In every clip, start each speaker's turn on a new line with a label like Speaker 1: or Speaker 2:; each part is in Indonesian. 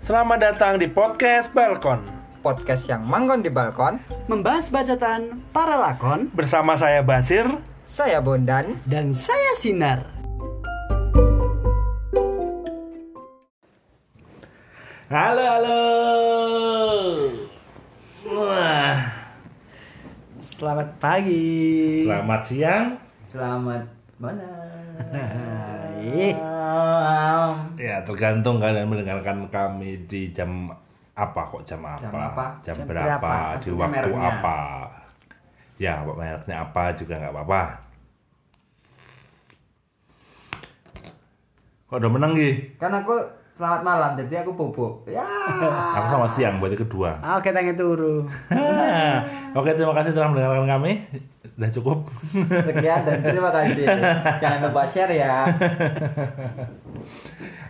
Speaker 1: Selamat datang di podcast Balkon
Speaker 2: podcast yang manggon di balkon.
Speaker 3: membahas bacotan para lakon
Speaker 1: bersama saya Basir.
Speaker 2: Saya Bondan.
Speaker 3: dan saya Sinar.
Speaker 1: Halo halo. Wah.
Speaker 3: Selamat pagi.
Speaker 1: Selamat siang.
Speaker 2: Selamat malam.
Speaker 3: Hai.
Speaker 1: Ya tergantung kalian mendengarkan kami di jam apa kok jam apa?
Speaker 2: Jam apa?
Speaker 1: Jam
Speaker 2: Jam
Speaker 1: berapa?
Speaker 2: berapa?
Speaker 1: Di
Speaker 2: Maksudnya
Speaker 1: waktu
Speaker 2: mereknya.
Speaker 1: apa? Ya, apa mereknya apa juga nggak apa-apa. Kok udah menang Gi?
Speaker 2: Kan aku selamat malam, jadi aku bubuk. Ya.
Speaker 1: Aku sama siang berarti kedua.
Speaker 3: Ah, Oke, tangan turu.
Speaker 1: Oke, terima kasih telah mendengarkan kami. Udah cukup.
Speaker 2: Sekian dan terima kasih. Jangan lupa share ya.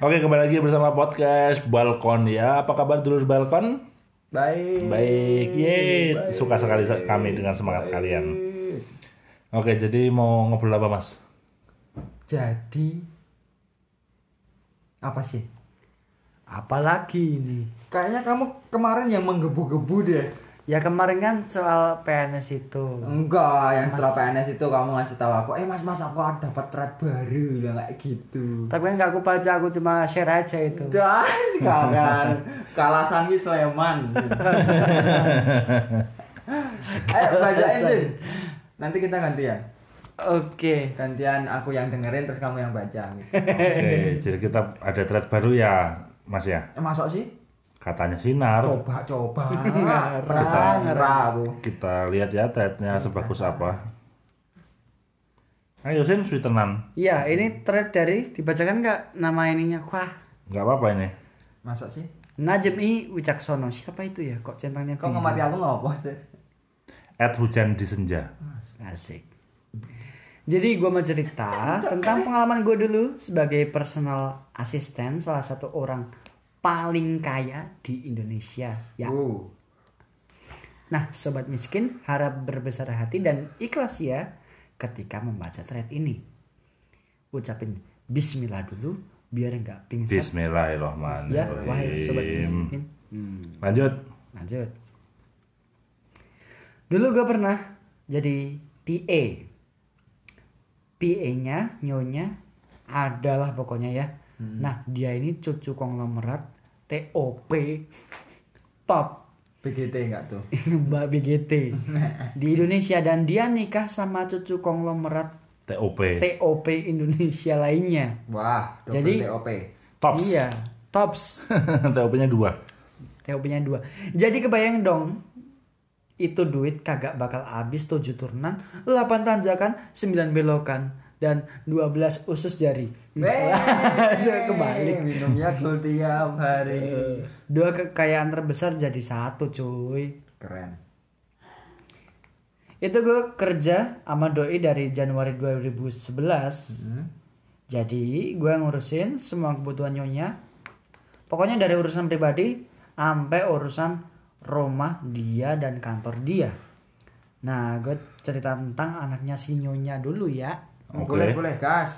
Speaker 1: Oke, kembali lagi bersama podcast Balkon ya. Apa kabar dulur Balkon?
Speaker 2: Bye.
Speaker 1: Baik, yeay. Suka sekali sa- kami dengan semangat kalian. Oke, jadi mau ngobrol apa, Mas?
Speaker 2: Jadi apa sih?
Speaker 3: Apalagi ini.
Speaker 2: Kayaknya kamu kemarin yang menggebu-gebu deh.
Speaker 3: Ya kemarin kan soal PNS itu.
Speaker 2: Enggak, yang setelah PNS itu kamu ngasih tahu aku, "Eh Mas, Mas, aku ada dapat thread baru." Lah kayak gitu.
Speaker 3: Tapi kan gak aku baca, aku cuma share aja itu.
Speaker 2: Dah sekarang kalasan di Sleman. Ayo bacain Jin. Nanti kita gantian.
Speaker 3: Oke.
Speaker 2: Gantian aku yang dengerin terus kamu yang baca. Gitu.
Speaker 1: Oke, jadi kita ada thread baru ya, Mas ya.
Speaker 2: Eh, masuk sih?
Speaker 1: Katanya sinar.
Speaker 2: Coba coba.
Speaker 3: Iya, ngerang.
Speaker 2: Perang aku.
Speaker 1: Kita lihat ya threadnya sebagus apa. Ayo, Sin, sweetenan.
Speaker 3: Iya, ini thread dari dibacakan nggak nama ininya? Wah,
Speaker 1: Nggak apa-apa ini.
Speaker 2: Masuk sih?
Speaker 3: Najem I Wicaksono. Siapa itu ya? Kok centangnya
Speaker 2: Kok
Speaker 3: biru?
Speaker 2: ngemati aku ngopo sih?
Speaker 1: At hujan di senja.
Speaker 3: Asik. Jadi gue mau cerita tentang pengalaman gue dulu sebagai personal assistant salah satu orang paling kaya di Indonesia. Ya.
Speaker 2: Uh.
Speaker 3: Nah, sobat miskin harap berbesar hati dan ikhlas ya ketika membaca thread ini. Ucapin Bismillah dulu biar nggak pingsan. Ya, wahai sobat
Speaker 1: Bismillahirrahmanirrahim.
Speaker 3: miskin. Hmm.
Speaker 1: Lanjut.
Speaker 3: Lanjut. Dulu gue pernah jadi PA. PA-nya, nyonya adalah pokoknya ya. Nah, dia ini cucu konglomerat TOP Top
Speaker 2: BGT enggak tuh?
Speaker 3: Mbak BGT di Indonesia dan dia nikah sama cucu konglomerat
Speaker 1: TOP.
Speaker 3: TOP Indonesia lainnya.
Speaker 2: Wah, double
Speaker 3: Jadi-
Speaker 2: TOP.
Speaker 1: Tops.
Speaker 3: Iya, Tops.
Speaker 1: TOP-nya dua.
Speaker 3: TOP-nya dua. Jadi kebayang dong, itu duit kagak bakal habis 7 turunan, 8 tanjakan, 9 belokan, dan 12 usus jari.
Speaker 2: Wey,
Speaker 3: Kebalik.
Speaker 2: Minumnya cool tiap hari.
Speaker 3: Dua kekayaan terbesar jadi satu cuy.
Speaker 2: Keren.
Speaker 3: Itu gue kerja sama doi dari Januari 2011.
Speaker 2: Hmm.
Speaker 3: Jadi gue ngurusin semua kebutuhan nyonya. Pokoknya dari urusan pribadi sampai urusan rumah dia dan kantor dia. Nah, gue cerita tentang anaknya si nyonya dulu ya.
Speaker 1: Oke.
Speaker 2: Boleh, boleh, gas.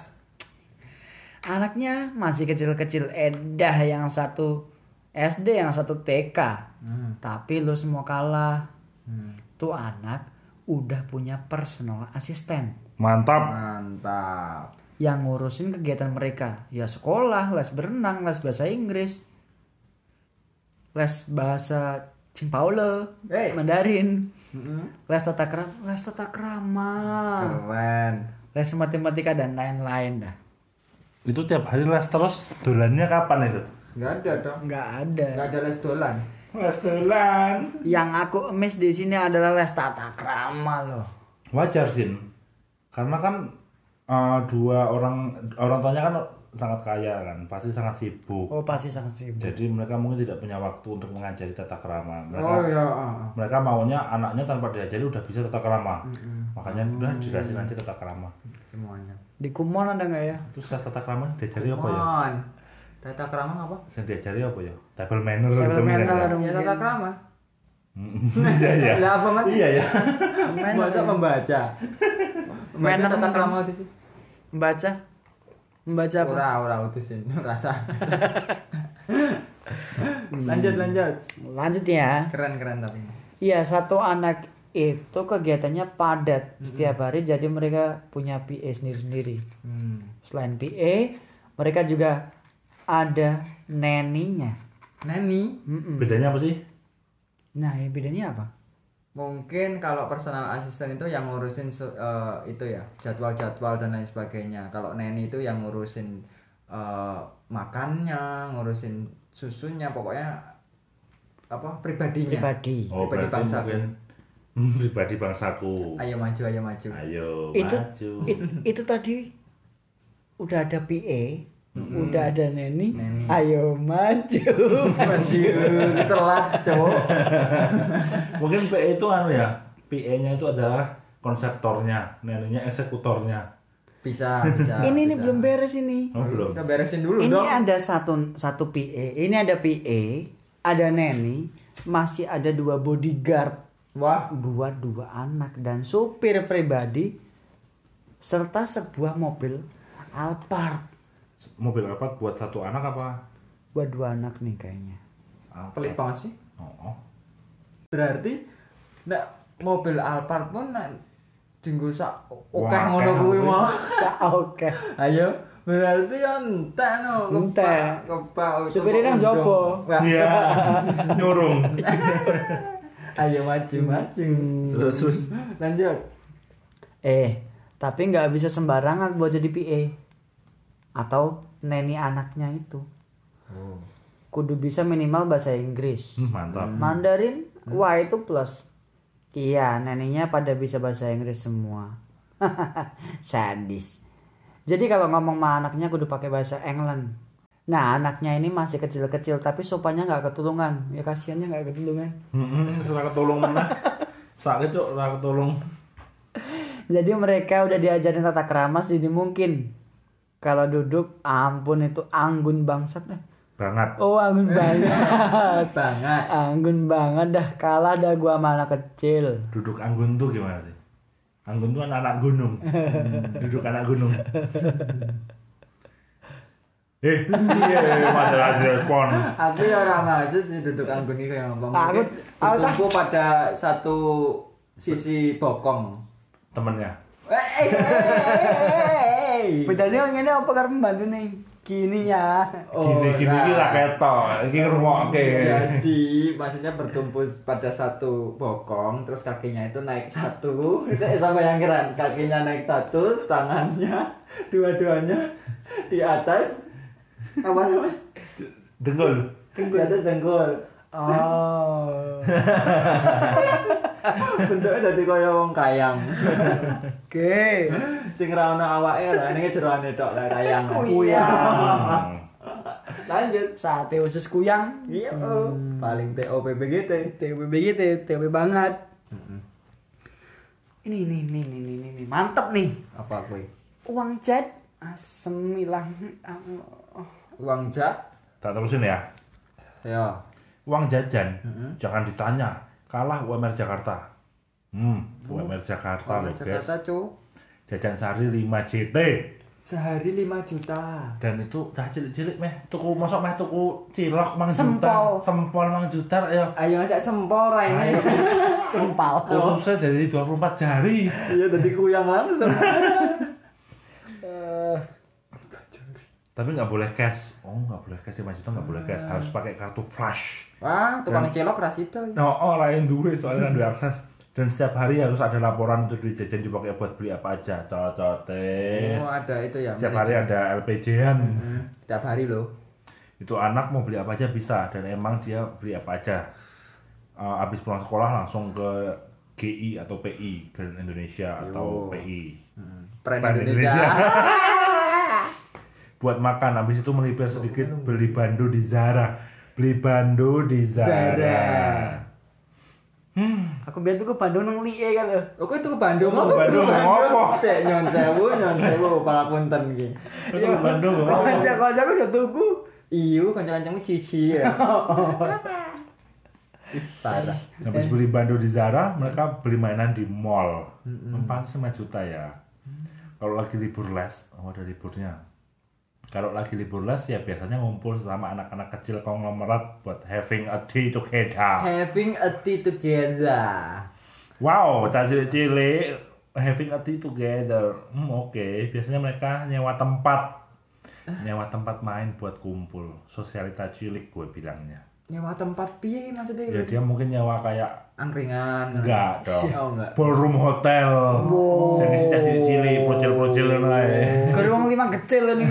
Speaker 3: Anaknya masih kecil-kecil edah yang satu SD yang satu TK.
Speaker 2: Hmm.
Speaker 3: Tapi lu semua kalah.
Speaker 2: Hmm.
Speaker 3: Tuh anak udah punya personal assistant.
Speaker 1: Mantap.
Speaker 2: Mantap.
Speaker 3: yang ngurusin kegiatan mereka. Ya sekolah, les berenang, les bahasa Inggris, les bahasa Cimpaule,
Speaker 2: Hey.
Speaker 3: Mandarin,
Speaker 2: Mm-mm.
Speaker 3: les tata kerama, les tata krama,
Speaker 2: Keren.
Speaker 3: les matematika dan lain-lain dah.
Speaker 1: Itu tiap hari les terus dolannya kapan itu?
Speaker 2: Enggak ada dong.
Speaker 3: Nggak ada.
Speaker 2: Enggak ada les dolan.
Speaker 1: Les dolan.
Speaker 3: Yang aku emis di sini adalah les tata krama loh.
Speaker 1: Wajar Sin. Karena kan eh, dua orang orang tuanya kan sangat kaya kan, pasti sangat sibuk.
Speaker 3: Oh pasti sangat sibuk.
Speaker 1: Jadi mereka mungkin tidak punya waktu untuk mengajari tata krama. Mereka
Speaker 2: Oh iya. ah, ah.
Speaker 1: mereka maunya anaknya tanpa diajari udah bisa tata krama. Makanya udah dijelasin aja tata krama.
Speaker 2: Semuanya.
Speaker 3: Di Kumon ada nggak ya?
Speaker 1: Terus les tata krama diajari apa ya?
Speaker 2: Mon. Tata krama apa?
Speaker 1: Yang diajari apa ya? Table manner
Speaker 3: Table
Speaker 1: gitu mungkin
Speaker 3: manner.
Speaker 1: ya.
Speaker 2: Ya tata krama.
Speaker 1: Iya ya.
Speaker 2: Lah apa mas?
Speaker 1: Iya ya.
Speaker 2: Masa membaca. Membaca
Speaker 3: Manner
Speaker 2: tata
Speaker 3: mungkin.
Speaker 2: krama itu sih.
Speaker 3: Membaca, membaca Iya, apa?
Speaker 2: Ora ora utusin rasa. lanjut lanjut
Speaker 3: Lanjut ya.
Speaker 2: Hmm. keren keren tapi
Speaker 3: Iya, satu anak itu kegiatannya padat
Speaker 2: Mm-hmm.
Speaker 3: setiap hari jadi mereka punya PA sendiri-sendiri.
Speaker 2: hmm.
Speaker 3: Selain PA, mereka juga ada neninya.
Speaker 2: Nani
Speaker 3: Mm-mm.
Speaker 1: Bedanya apa sih?
Speaker 3: Nah, ya bedanya apa?
Speaker 2: mungkin kalau personal assistant itu yang ngurusin se- eh, itu ya jadwal-jadwal dan lain sebagainya kalau neni itu yang ngurusin eh, makannya ngurusin susunya pokoknya apa pribadinya
Speaker 3: Pribadi.
Speaker 1: Oh,
Speaker 2: Pribadi
Speaker 1: berarti
Speaker 2: bangsaku.
Speaker 1: mungkin Hmm, pribadi bangsaku.
Speaker 2: ayo maju ayo maju Oh,
Speaker 1: Ayo,
Speaker 3: Itu-
Speaker 1: maju.
Speaker 3: It- itu tadi udah ada PA, udah ada neni.
Speaker 2: Neni.
Speaker 3: Ayo maju.
Speaker 2: maju telat cowok
Speaker 1: Mungkin PE itu anu ya, PE-nya itu adalah konseptornya, neneknya eksekutornya.
Speaker 2: bisa bisa
Speaker 3: ini nih
Speaker 2: Nah, bisa.
Speaker 3: belum beres ini.
Speaker 1: Oh, belum.
Speaker 2: Kita beresin dulu
Speaker 3: ini
Speaker 2: dong
Speaker 3: ada satu satu PA, ini ada PA, ada neni, masih ada dua bodyguard
Speaker 2: wah
Speaker 3: buat dua anak dan supir pribadi serta sebuah mobil Alphard
Speaker 1: Mobil Alphard buat satu anak apa?
Speaker 3: buat dua anak nih kayaknya.
Speaker 1: Alphard.
Speaker 2: pelit banget sih
Speaker 1: Oh, oh.
Speaker 2: berarti ndak mobil Alphard pun nak dinggo sak oke
Speaker 1: Wah, ya?
Speaker 2: ngono
Speaker 1: akeh
Speaker 2: kuwi
Speaker 1: ngono
Speaker 2: mau
Speaker 3: Oke.
Speaker 2: ayo berarti ya entek no
Speaker 3: Entek.
Speaker 2: kepak
Speaker 3: Supirnya nang jopo.
Speaker 1: Iya, nyurung.
Speaker 2: ayo maju maju
Speaker 1: Terus, terus.
Speaker 2: lanjut
Speaker 3: Eh, tapi nggak bisa sembarangan buat jadi PA atau neni anaknya itu. Kudu bisa minimal bahasa Inggris.
Speaker 1: Hmm, mantap.
Speaker 3: Mandarin wah itu plus. Iya, neninya pada bisa bahasa Inggris semua. Sadis. Jadi kalau ngomong sama anaknya kudu pakai bahasa England. Nah, anaknya ini masih kecil-kecil tapi sopannya nggak ketulungan. Ya kasihannya nggak ketulungan.
Speaker 1: Heeh, ora Hmm, ketolong menah. Sakit cuk, ora ketolong.
Speaker 3: Jadi mereka udah diajarin tata kerama jadi mungkin. Kalau duduk, ampun itu anggun bangsat dah.
Speaker 1: Banget.
Speaker 3: Oh, anggun banget.
Speaker 2: banget
Speaker 3: anggun banget dah kalah dah gua sama anak kecil.
Speaker 1: Duduk anggun tuh gimana sih? Anggun tuh anak-anak gunung. Duduk anak gunung. Eh, iya, malah direspon.
Speaker 2: aku ya orang maju sih duduk anggun ini kayak ngomong
Speaker 3: Aku-
Speaker 2: mungkin
Speaker 3: aku-
Speaker 2: ditumpu pada satu sisi bokong
Speaker 1: Temennya.
Speaker 2: Eh, eh, eh, eh, eh, eh.
Speaker 3: Bedanya yang ini apa karena membantu nih? Gini ya.
Speaker 1: Gini gini
Speaker 2: Ora.
Speaker 1: iki lah ketok, iki ngrungokke.
Speaker 2: Oh, nah. Jadi maksudnya bertumpu pada satu bokong, terus kakinya itu naik satu, itu sama yang keren, kakinya naik satu, tangannya dua-duanya di atas apa namanya?
Speaker 1: Dengkul.
Speaker 2: Di atas dengkul.
Speaker 3: Oh.
Speaker 2: Bentuknya jadi kaya wong kayang.
Speaker 3: Oke.
Speaker 2: Sing ra ono awake lah, ini jeroane tok lah kayang.
Speaker 3: Oh Kuyang.
Speaker 1: Hmm,
Speaker 2: Lanjut.
Speaker 3: ya. Sate usus kuyang.
Speaker 2: Iya, oh. paling TOPPGT.
Speaker 3: TB gitu, TB banget. Ini ini ini ini ini, ini. mantap nih.
Speaker 2: Apa kuwi?
Speaker 3: Uang cat asem hilang. Oh.
Speaker 2: Uang jak?
Speaker 1: Tak terusin ya.
Speaker 2: Ya.
Speaker 1: Uang jajan jangan ditanya. Kalah UMR Jakarta. Hmm,
Speaker 2: Oh,
Speaker 1: UMR Jakarta
Speaker 2: Kalau
Speaker 1: loh, guys.
Speaker 2: Jakarta, cu.
Speaker 1: Jajan sehari 5 JT
Speaker 2: Sehari 5 juta.
Speaker 1: dan itu cah cilik-cilik meh tuku mosok meh tuku cilok mang
Speaker 3: Sempol.
Speaker 1: juta sempol mang juta ya
Speaker 2: Ayo ajak sempol ra ini.
Speaker 3: Sempal.
Speaker 1: khususnya dari 24 jari
Speaker 2: Iya dadi kuyang langsung.
Speaker 3: Eh,
Speaker 1: tapi nggak boleh cash oh nggak boleh cash 5 juta nggak boleh cash harus pakai kartu flash
Speaker 2: Wah, tukang
Speaker 1: Kan.
Speaker 2: celok ra situ.
Speaker 1: No, oh, lain duit soalnya lain duit akses. Dan setiap hari harus ada laporan untuk duit jajan dipakai buat beli apa aja. Cocote.
Speaker 2: Oh, ada itu ya.
Speaker 1: Iya. Setiap hari ada LPG-an.
Speaker 2: Hmm, Tiap hari loh.
Speaker 1: Itu anak mau beli apa aja bisa dan emang dia beli apa aja. Eh, habis pulang sekolah langsung ke GI atau PI Grand Indonesia atau
Speaker 2: Yo.
Speaker 1: PI.
Speaker 2: Pren
Speaker 1: Pren Indonesia.
Speaker 2: Hmm, Indonesia.
Speaker 1: Buat makan habis itu melipir sedikit beli bando di Zara. Beli bando di Zara.
Speaker 2: Zara.
Speaker 1: Hmm.
Speaker 3: aku biar tuh ke Bandung nang liye kan lho.
Speaker 2: Oh, kok itu ke Bandung apa?
Speaker 1: Ke Bandung,
Speaker 2: Ke
Speaker 1: apa?
Speaker 2: Cek nyon sewu, nyon sewu, pangapunten iki.
Speaker 1: Itu ke
Speaker 3: Iya.
Speaker 2: Iya,
Speaker 1: Bandung. oh. ngomong.
Speaker 3: Kocak-kocak udah tuku.
Speaker 2: Iyo, kanca-kancamu cici ya. Ih, Parah.
Speaker 1: Habis beli bando di Zara, mereka beli mainan di mall. Empat sama juta ya. Kalau lagi libur les, oh ada liburnya. Kalau lagi libur les ya biasanya ngumpul sama anak-anak kecil konglomerat buat having a tea together.
Speaker 2: Having a tea together.
Speaker 1: Wow, cah cilik-cilik having a tea together. Hmm, oke. Biasanya mereka nyewa tempat. Nyewa tempat main buat kumpul. Sosialita cilik gue bilangnya.
Speaker 2: Nyewa tempat piye maksudnya?
Speaker 1: Ya dia mungkin nyewa kayak
Speaker 2: Angkringan.
Speaker 1: Enggak dong.
Speaker 2: Sial, enggak.
Speaker 1: ballroom hotel.
Speaker 2: Wow.
Speaker 1: Jadi cah cilik-cilik, projil-projil lain.
Speaker 3: Kalau wong lima kecil ini.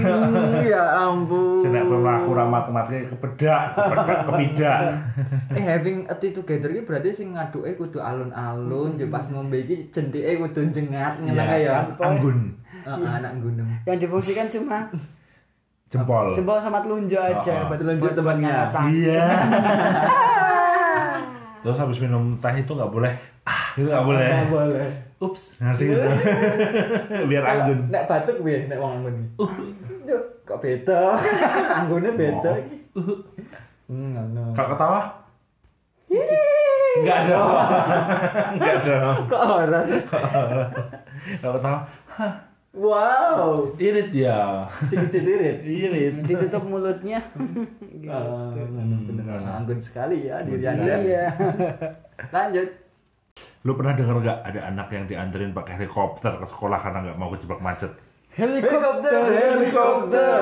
Speaker 2: ya ampun.
Speaker 1: Jenak berlaku ramat matematika kebedak, kebedak, kebidak.
Speaker 2: eh having a tea together iki berarti sing ngaduke kudu alun-alun yo pas ngombe iki jendike kudu jengat ngene kae ya.
Speaker 1: kan? Anggun,
Speaker 2: Heeh, anak gunung.
Speaker 3: Yang difungsikan cuma
Speaker 1: jempol.
Speaker 3: jempol sama telunjuk
Speaker 1: Ah, ah.
Speaker 3: aja. buat-
Speaker 2: Telunjuk
Speaker 3: buat
Speaker 2: temannya.
Speaker 3: ngacang.
Speaker 1: Iya. Terus habis minum teh itu nggak boleh. Ah, itu nggak boleh.
Speaker 2: Nggak boleh.
Speaker 1: Ups, harus gitu. Biar
Speaker 2: Kalau
Speaker 1: anggun.
Speaker 2: nek batuk piye nek wong anggun iki? Yo, kok beda. Anggone beda iki. Hmm, ngono.
Speaker 1: Kalau ketawa? Enggak dong. Enggak dong.
Speaker 2: Kok horor.
Speaker 1: Kalau ketawa, hah,
Speaker 2: Wow.
Speaker 1: irit ya.
Speaker 2: Sikit-sikit irit.
Speaker 1: Irit.
Speaker 3: Ditutup mulutnya.
Speaker 2: Ah, bener anggun sekali ya diri Anda.
Speaker 3: Iya.
Speaker 2: Lanjut.
Speaker 1: Lu pernah denger nggak ada anak yang dianterin pakai helikopter ke sekolah karena nggak mau kejebak macet?
Speaker 2: Helikopter, helikopter.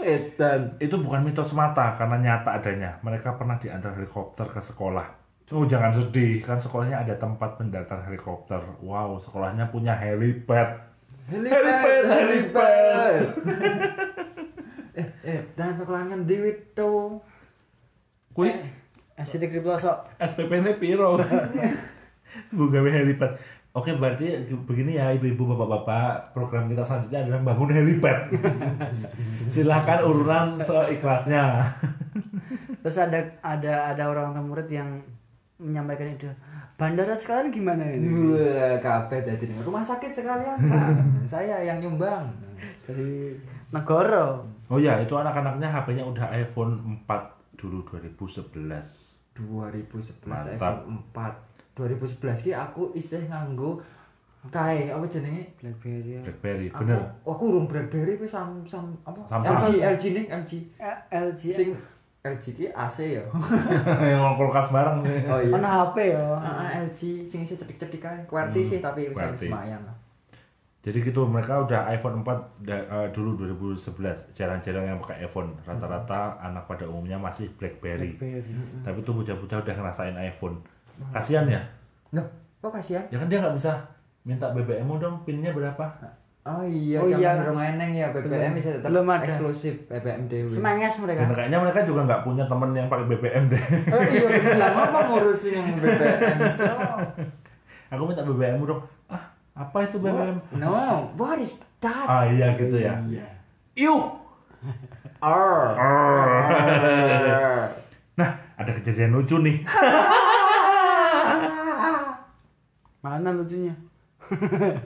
Speaker 2: Edan.
Speaker 1: itu bukan mitos semata karena nyata adanya. Mereka pernah diantar helikopter ke sekolah. Oh jangan sedih, kan sekolahnya ada tempat pendaratan helikopter. Wow, sekolahnya punya helipad. Helipad, helipad.
Speaker 2: eh, eh, dan sekolahnya di Wito.
Speaker 1: Kui
Speaker 3: Asli kripto sok.
Speaker 1: SPP-nya piro? Gue gawe helipad. Oke, berarti begini ya ibu-ibu bapak-bapak, program kita selanjutnya adalah bangun helipad. Silahkan urunan seikhlasnya.
Speaker 3: Terus ada ada ada orang tua murid yang menyampaikan itu. Bandara sekarang gimana ini?
Speaker 2: Wah, kabeh dadi ning rumah sakit sekalian, Pak. Saya yang nyumbang.
Speaker 3: Dari negara.
Speaker 1: Oh ya, itu anak-anaknya HP-nya udah iPhone 4 dulu 2011.
Speaker 2: 2011
Speaker 1: Mantap.
Speaker 2: iPhone 4. 2011 ki aku isih nganggo kae apa jenenge?
Speaker 3: Blackberry.
Speaker 1: BlackBerry,
Speaker 2: Aku-
Speaker 1: bener.
Speaker 2: Aku urung BlackBerry kuwi sam sam apa?
Speaker 1: Samsung.
Speaker 2: LG LG ning LG.
Speaker 3: Eh, LG.
Speaker 2: Sing LG ki AC ya.
Speaker 1: yang mau kulkas bareng nih.
Speaker 2: Oh iya.
Speaker 3: Mana HP ya?
Speaker 2: Ah, ah, LG sing isih cedik-cedik kae. QWERTY
Speaker 3: Hmm,
Speaker 2: sih tapi wis
Speaker 1: QWERTY.
Speaker 2: semayan lah.
Speaker 1: Jadi gitu mereka udah iPhone 4 da- eh, dulu 2011 jarang-jarang yang pakai iPhone rata-rata anak pada umumnya masih BlackBerry
Speaker 3: Blackberry.
Speaker 1: tapi tuh bocah-bocah udah ngerasain iPhone kasihan ya
Speaker 2: Loh, kok kasihan?
Speaker 1: ya kan dia nggak bisa minta BBM -mu dong pinnya berapa
Speaker 2: Oh iya,
Speaker 3: Oh
Speaker 2: zaman
Speaker 3: iya.
Speaker 2: urung eneng ya BBM
Speaker 3: Belum-
Speaker 2: bisa tetap
Speaker 3: belum ada.
Speaker 2: eksklusif BBM dewe.
Speaker 3: Semangat mereka.
Speaker 1: dan kayaknya mereka juga nggak punya temen yang pakai BBM deh
Speaker 2: Oh iya, bener lah ngapa ngurusin yang BBM? Cok?
Speaker 1: aku minta BBM -mu dong ah apa itu BBM
Speaker 2: No, what is that?
Speaker 1: ah iya gitu ya iuh
Speaker 2: R. Ah. R.
Speaker 1: nah ada kejadian lucu nih
Speaker 3: Mana lucunya?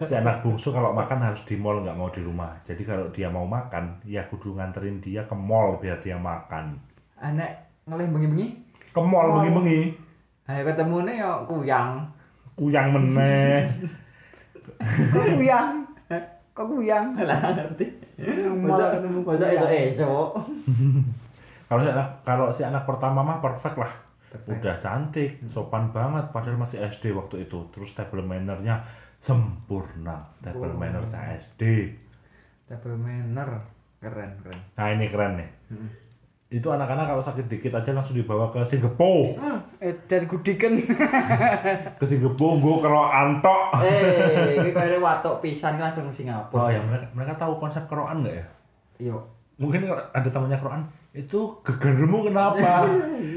Speaker 1: si anak bungsu kalau makan harus di mall nggak mau di rumah jadi kalau dia mau makan ya kudu nganterin dia ke mall biar dia makan
Speaker 2: Anak ngelih bengi-bengi.
Speaker 1: ke mall bengi-bengi
Speaker 2: Ayo ketemune yo kuyang.
Speaker 1: kuyang meneh
Speaker 3: Kok kuyang? Kok kuyang?
Speaker 2: Lah ngerti.
Speaker 3: Malah ketemu
Speaker 2: Masa itu
Speaker 3: kuyang.
Speaker 2: esok.
Speaker 1: kalau si anak kalau si anak pertama mah perfect lah
Speaker 2: Perfect.
Speaker 1: udah cantik sopan banget padahal masih SD waktu itu terus table mannernya sempurna table
Speaker 2: Oh.
Speaker 1: manner SD
Speaker 2: Double manner. Keren, keren.
Speaker 1: nah ini keren nih
Speaker 2: Mm-mm.
Speaker 1: itu anak-anak kalau sakit dikit aja langsung dibawa ke Singapura
Speaker 3: Eh, dan gudikan.
Speaker 1: ke Singapura gue kalau antok
Speaker 2: Eh, iki kaya watuk pisan ki langsung
Speaker 1: oh
Speaker 2: Singapura.
Speaker 1: ya mereka mereka tahu konsep keroan nggak ya
Speaker 2: Yo.
Speaker 1: mungkin ada temannya Quran itu gegermu kenapa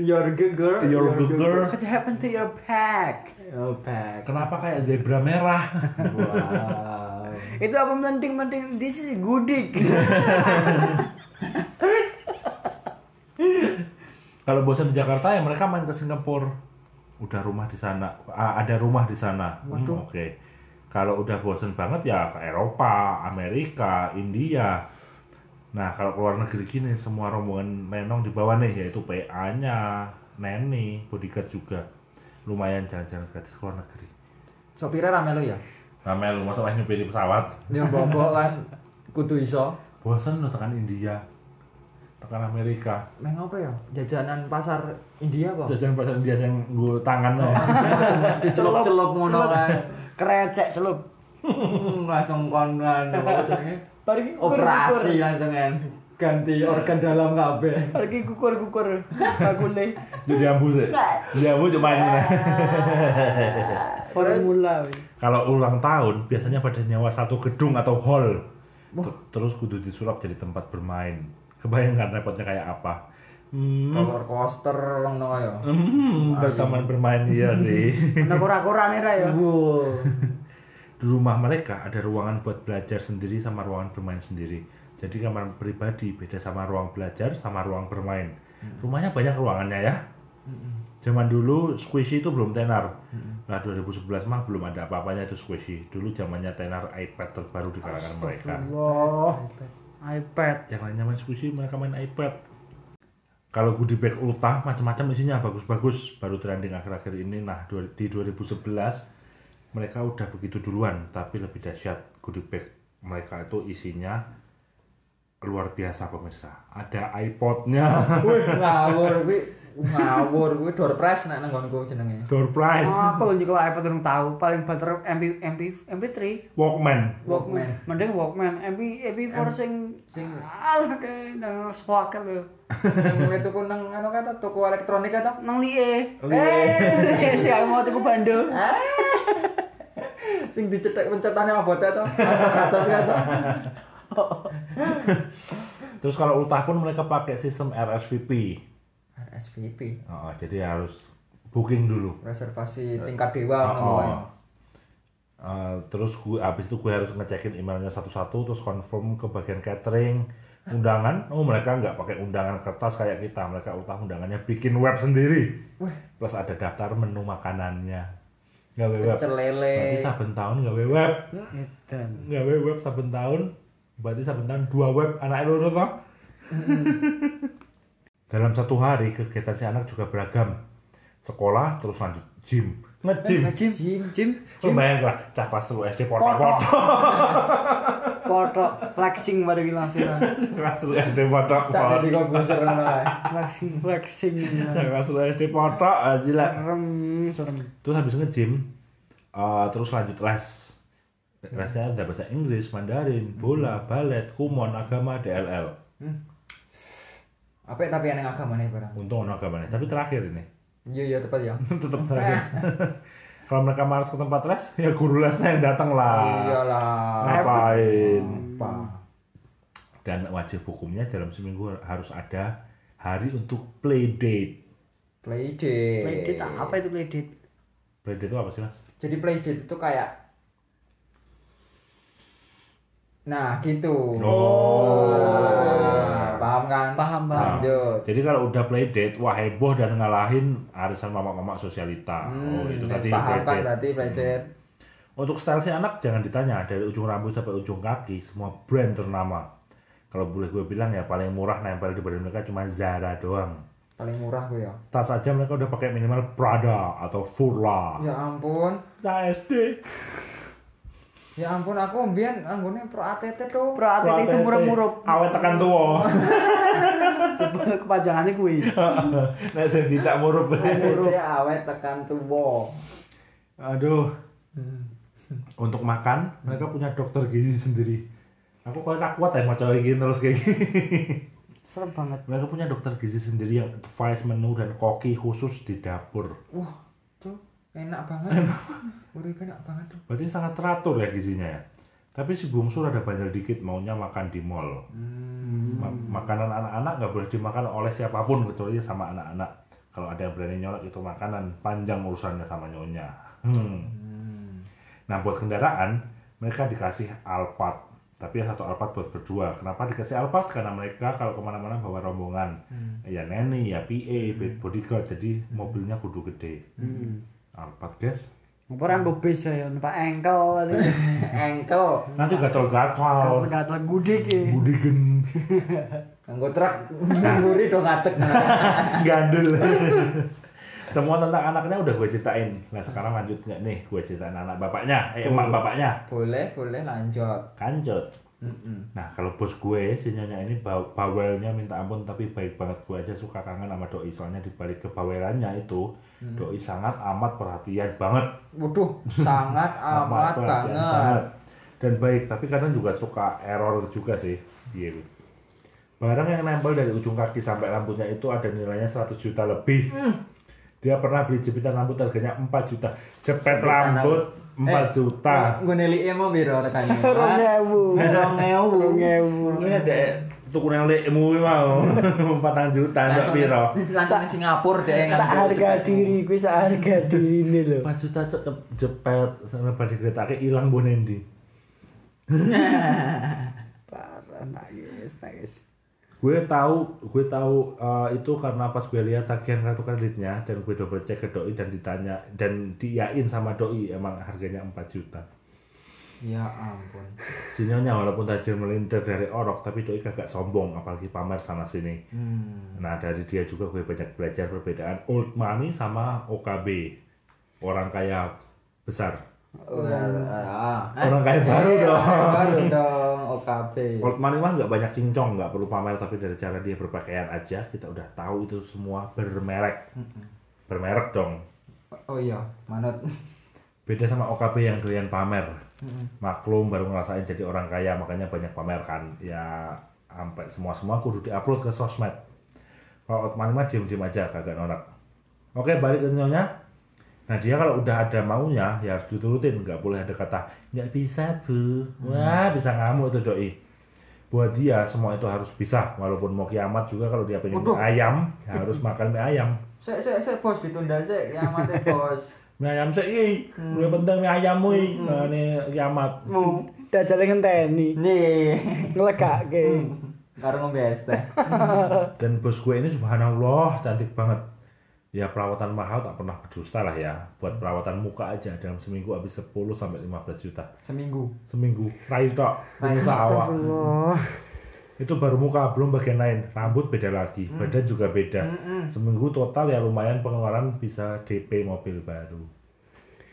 Speaker 2: Your girl.
Speaker 1: your geger
Speaker 3: What happened to your pack?
Speaker 2: Oh, back.
Speaker 1: kenapa kayak zebra merah
Speaker 2: Wow.
Speaker 3: Itu apa menting-menting? This is gudik.
Speaker 1: kalau bosan di Jakarta ya mereka main ke Singapura udah rumah di sana Ah, ada rumah di sana Hmm,
Speaker 2: Waduh.
Speaker 1: oke kalau udah bosan banget ya ke Eropa Amerika India nah kalau keluar negeri gini semua rombongan nenong di bawah nih yaitu PA nya Neni bodyguard juga lumayan jalan-jalan gratis ke luar negeri
Speaker 2: Sopirnya rame lu ya?
Speaker 1: Nah, ramai lu masa nyupirin pesawat
Speaker 2: Yo bobo kan kudu iso.
Speaker 1: bosan lo tekan India tekan Amerika
Speaker 2: Meng apa ya? Jajanan pasar India apa?
Speaker 1: jajan pasar India yang gue tangan lah ya.
Speaker 2: Dicelup-celup ngono kan.
Speaker 3: Krecek celup.
Speaker 2: Hmm, langsung kon kan apa jenenge?
Speaker 3: Pergi
Speaker 2: Operasi langsung kan. Ganti organ dalam kabeh.
Speaker 3: Pergi kukur-kukur. Bagule.
Speaker 1: jadi ambu sih jadi ambu cuma ini lah.
Speaker 3: Formula. weh.
Speaker 1: kalau ulang tahun biasanya pada nyawa satu gedung atau hall Ter- terus kudu disulap jadi tempat bermain kebayangkan repotnya kayak apa hmm,
Speaker 2: Roller coaster ngono ya.
Speaker 1: hmm ke taman bermain iya sih
Speaker 3: Ana kura-kura nih Ra, ya.
Speaker 2: Wow.
Speaker 1: di rumah mereka ada ruangan buat belajar sendiri sama ruangan bermain sendiri jadi kamar pribadi beda sama ruang belajar sama ruang bermain rumahnya banyak ruangannya ya
Speaker 2: Hmm.
Speaker 1: zaman dulu squishy itu belum tenar nah 2011 mah belum ada apa-apanya itu squishy dulu zamannya tenar iPad terbaru di kalangan mereka Oh.
Speaker 3: Astagfirullah. iPad.
Speaker 1: yang lainnya main squishy mereka main iPad kalau goodie bag ultah macam-macam isinya bagus-bagus baru trending akhir-akhir ini nah du- di 2011 mereka udah begitu duluan tapi lebih dahsyat goodie bag mereka itu isinya luar biasa pemirsa ada iPodnya
Speaker 2: Wih, ngawur kuwi ngawur kuwi door prize nek nang nggonku jenenge.
Speaker 1: door prize
Speaker 3: Ah, aku juga kalau iPad belum tahu paling better MP MP MP3
Speaker 1: Walkman
Speaker 3: Walkman
Speaker 2: Walkman.
Speaker 3: mending Walkman MP MP4 sing sing alah ke nang swakel lho
Speaker 2: Sing kuwi tuku nang anu kata toko elektronik kata.
Speaker 3: nang liye
Speaker 1: Liye.
Speaker 3: eh sing aku mau tuku bando
Speaker 2: Sing dicetek pencetannya abote to. Atas-atas kata.
Speaker 1: terus kalau ultah pun mereka pakai sistem RSVP
Speaker 2: RSVP.
Speaker 1: Oh, jadi harus booking dulu
Speaker 2: Reservasi tingkat dewa
Speaker 1: Oh,
Speaker 2: ngono
Speaker 1: oh.
Speaker 2: wae.
Speaker 1: Eh, terus gue habis itu gue harus ngecekin emailnya satu-satu terus confirm ke bagian catering undangan oh mereka nggak pakai undangan kertas kayak kita mereka utah undangannya bikin web sendiri
Speaker 2: Wah.
Speaker 1: plus ada daftar menu makanannya gawe web
Speaker 2: Pecel lele.
Speaker 1: berarti saben tahun gawe web
Speaker 3: edan
Speaker 1: gawe web saben tahun berarti saben tahun dua web anak lu tuh Pak. dalam satu hari kegiatan si anak juga beragam sekolah terus lanjut gym ngejim
Speaker 3: Jim Jim Jim
Speaker 1: Cuma bayangin lah, cah kelas telu SD
Speaker 3: Potok.
Speaker 1: potok-potok
Speaker 3: foto flexing baru bilang sih Ra.
Speaker 1: Kelas telu SD potok
Speaker 2: Sak di komputer ngono wae.
Speaker 3: flexing flexing
Speaker 1: Cah Kelas telu SD potok, ah, gila
Speaker 3: serem serem
Speaker 1: Terus habis nge-gym eh, Terus lanjut les Lesnya ada bahasa Inggris, Mandarin, bola, balet, kumon, agama, DLL
Speaker 2: Apik tapi eneng agamane barang.
Speaker 1: Untung ono agamanya, tapi terakhir ini
Speaker 2: Iya iya tepat ya.
Speaker 1: Tetap terakhir Kalau mereka malas ke tempat les, ya guru lesnya yang datang
Speaker 2: Ah. Iya.
Speaker 1: lah
Speaker 2: Iyalah.
Speaker 1: Ngapain
Speaker 2: Apa?
Speaker 1: Dan wajib hukumnya dalam seminggu harus ada hari untuk play date
Speaker 2: Playdate.
Speaker 3: playdate apa itu playdate
Speaker 1: Play date itu apa sih mas?
Speaker 2: Jadi playdate itu kayak Nah, gitu. Nah, paham kan?
Speaker 3: Paham, paham.
Speaker 2: Lanjut.
Speaker 1: Jadi kalau udah play date, wah heboh dan ngalahin arisan mama-mama sosialita. oh itu
Speaker 2: Hmm,
Speaker 1: tadi
Speaker 2: paham
Speaker 1: play
Speaker 2: kan
Speaker 1: date.
Speaker 2: berarti playdate.
Speaker 1: Untuk style si anak jangan ditanya dari ujung rambut sampai ujung kaki semua brand ternama. Kalau boleh gue bilang ya paling murah nempel di badan mereka cuma Zara doang.
Speaker 2: Paling murah gue ya.
Speaker 1: Tas aja mereka udah pakai minimal Prada atau Furla.
Speaker 2: Ya ampun.
Speaker 1: Cah SD.
Speaker 2: Ya ampun aku mbiyen anggone pro ATT tuh.
Speaker 3: pro atlet
Speaker 1: Wah,
Speaker 3: semurup-murup
Speaker 1: Awet tekan tua.
Speaker 3: kepanjangannya kuwi
Speaker 1: Nek sing tidak murup.
Speaker 2: ATT awet tekan tuwa.
Speaker 1: Aduh. Hmm. Untuk makan, mereka punya dokter gizi sendiri. Aku kalau tak kuat ya mau cowok gini terus kayak gini.
Speaker 3: serem banget
Speaker 1: mereka punya dokter gizi sendiri yang advice menu dan koki khusus di dapur.
Speaker 2: Wah, tuh enak banget. Urip enak banget tuh.
Speaker 1: Berarti sangat teratur ya gizinya ya. Tapi si bungsu ada bandel dikit maunya makan di mall. Ma- makanan anak-anak nggak boleh dimakan oleh siapapun kecuali sama anak-anak. Kalau ada yang berani nyolok itu makanan panjang urusannya sama nyonya. Hmm. Nah buat kendaraan mereka dikasih Alphard tapi yang satu Alphard buat berdua. Kenapa dikasih Alphard? Karena mereka kalau kemana-mana bawa rombongan, ya neni, ya PA, bodyguard, jadi mobilnya kudu gede. Alphard guys.
Speaker 3: Apa orang gue bis ya, numpak engkel,
Speaker 2: Engkel.
Speaker 1: Nanti gatal-gatal,
Speaker 3: gatel gudik ya.
Speaker 1: budigen,
Speaker 2: Nganggo truk nguri do ngadeg.
Speaker 1: gandul. Semua tentang anaknya udah gue ceritain. Nah sekarang lanjut nggak nih gue ceritain anak bapaknya, eh emak bapaknya.
Speaker 2: Boleh, boleh lanjut.
Speaker 1: Kancut.
Speaker 2: Mm-mm.
Speaker 1: Nah kalau bos gue si nyonya ini baw- bawelnya minta ampun tapi baik banget gue aja suka kangen sama doi soalnya dibalik kebawelannya itu doi sangat amat perhatian banget
Speaker 2: Waduh, sangat amat
Speaker 1: perhatian
Speaker 2: banget.
Speaker 1: dan baik tapi kadang juga suka error juga sih Iya. Barang yang nempel dari ujung kaki sampai rambutnya itu ada nilainya 100 juta lebih.
Speaker 2: Hmm.
Speaker 1: Dia pernah beli jepitan rambut harganya 4 juta. Jepet
Speaker 2: Jepitan
Speaker 1: rambut
Speaker 2: rambut.
Speaker 1: 4
Speaker 2: Eh,
Speaker 1: juta.
Speaker 2: Gue neli emo biro rekannya.
Speaker 3: Rong ewu.
Speaker 2: Rong ewu. nah.
Speaker 1: Ini ada tuku yang lekmu mau 4 juta sak
Speaker 2: Langsung
Speaker 1: piro?
Speaker 2: langsung ke Singapura deh ngambil
Speaker 3: Seharga
Speaker 2: cepet.
Speaker 3: diri gue seharga diri ini loh.
Speaker 1: 4 juta cok cep- jepet sama badi keretake ilang bonendi.
Speaker 3: Parah nangis nangis.
Speaker 1: gue tahu gue tahu eh, itu karena pas gue lihat tagihan kartu kreditnya dan gue double check ke doi dan ditanya dan diiyain sama doi emang harganya 4 juta
Speaker 2: Ya ampun.
Speaker 1: sinyonya walaupun tajir melintir dari orok tapi doi kagak sombong apalagi pamer sana sini
Speaker 2: Hmm.
Speaker 1: nah dari dia juga gue banyak belajar perbedaan old money sama OKB orang kaya besar
Speaker 2: Oh. Ber- ah. Eh,
Speaker 1: Orang kaya baru
Speaker 2: eh, orang kaya
Speaker 1: dong.
Speaker 2: Baru dong OKB.
Speaker 1: old money mah nggak banyak cincong nggak perlu pamer tapi dari cara dia berpakaian aja kita udah tahu itu semua bermerek bermerek dong
Speaker 2: Oh iya, manut.
Speaker 1: Beda sama OKB yang doyan pamer. Maklum baru ngerasain jadi orang kaya makanya banyak pamer kan. Ya sampai semua-semua kudu diupload ke sosmed. Kalau Otman mah diem-diem aja kagak norak. Oke balik ke nyonya. Nah dia kalau udah ada maunya ya harus diturutin. Nggak boleh ada kata nggak bisa bu. Wah bisa ngamuk tuh doi. Buat dia semua itu harus bisa. Walaupun mau kiamat juga kalau dia pengen mie
Speaker 2: Waduh.
Speaker 1: ayam ya harus makan mie ayam.
Speaker 2: Sek sek sek bos ditunda sek, ya mati bos.
Speaker 1: Mie ayam sih, iya. Lu yang penting mie ayam mui. Nah, ini kiamat.
Speaker 2: Mu.
Speaker 3: Dajale ngenteni,
Speaker 2: Nih.
Speaker 3: ngelekake.
Speaker 2: Karo ngombe es teh.
Speaker 1: Dan bos gue ini subhanallah cantik banget. Ya perawatan mahal tak pernah berdusta lah ya. Buat perawatan muka aja dalam seminggu habis 10 sampai 15 juta.
Speaker 2: Seminggu.
Speaker 1: Seminggu. Rai tok,
Speaker 2: Rai.
Speaker 1: pengusaha awak.
Speaker 3: Astagfirullah.
Speaker 1: Itu baru muka, belum bagian lain. Rambut beda lagi, badan juga beda.
Speaker 2: Mm-mm.
Speaker 1: Seminggu total ya lumayan pengeluaran bisa DP mobil baru.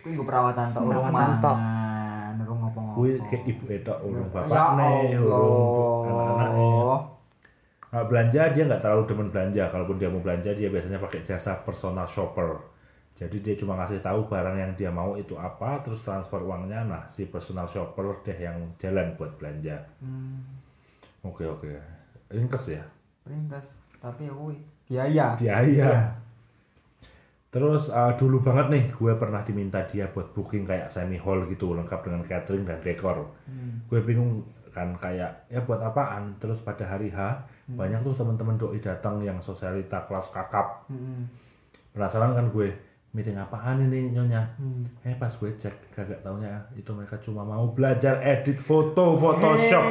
Speaker 2: Kuwi nggo perawatan tok urung
Speaker 3: Perawatan tok.
Speaker 2: mangan, urung ngopo-ngopo.
Speaker 1: Gue ke ibu etok, urung
Speaker 2: Ya
Speaker 1: bapak nih, urung anak-anaknya.
Speaker 2: Allah.
Speaker 1: Nah, belanja dia nggak terlalu demen belanja. Kalaupun dia mau belanja dia biasanya pakai jasa personal shopper. Jadi dia cuma ngasih tahu barang yang dia mau itu apa, terus transfer uangnya. Nah si personal shopper deh yang jalan buat belanja.
Speaker 2: Hmm.
Speaker 1: Oke oke. Ringkes ya.
Speaker 2: Ringkas, tapi ya kuwi biaya.
Speaker 1: Biaya. Terus eh, dulu banget nih, gue pernah diminta dia buat booking kayak semi hall gitu, lengkap dengan catering dan dekor.
Speaker 2: Hmm.
Speaker 1: Gue bingung kan kayak ya buat apaan? Terus pada hari H banyak tuh teman-teman doi datang yang sosialita kelas kakap
Speaker 2: Heeh.
Speaker 1: penasaran kan gue meeting apaan ini nyonya eh pas gue cek kagak taunya itu mereka cuma mau belajar edit foto Photoshop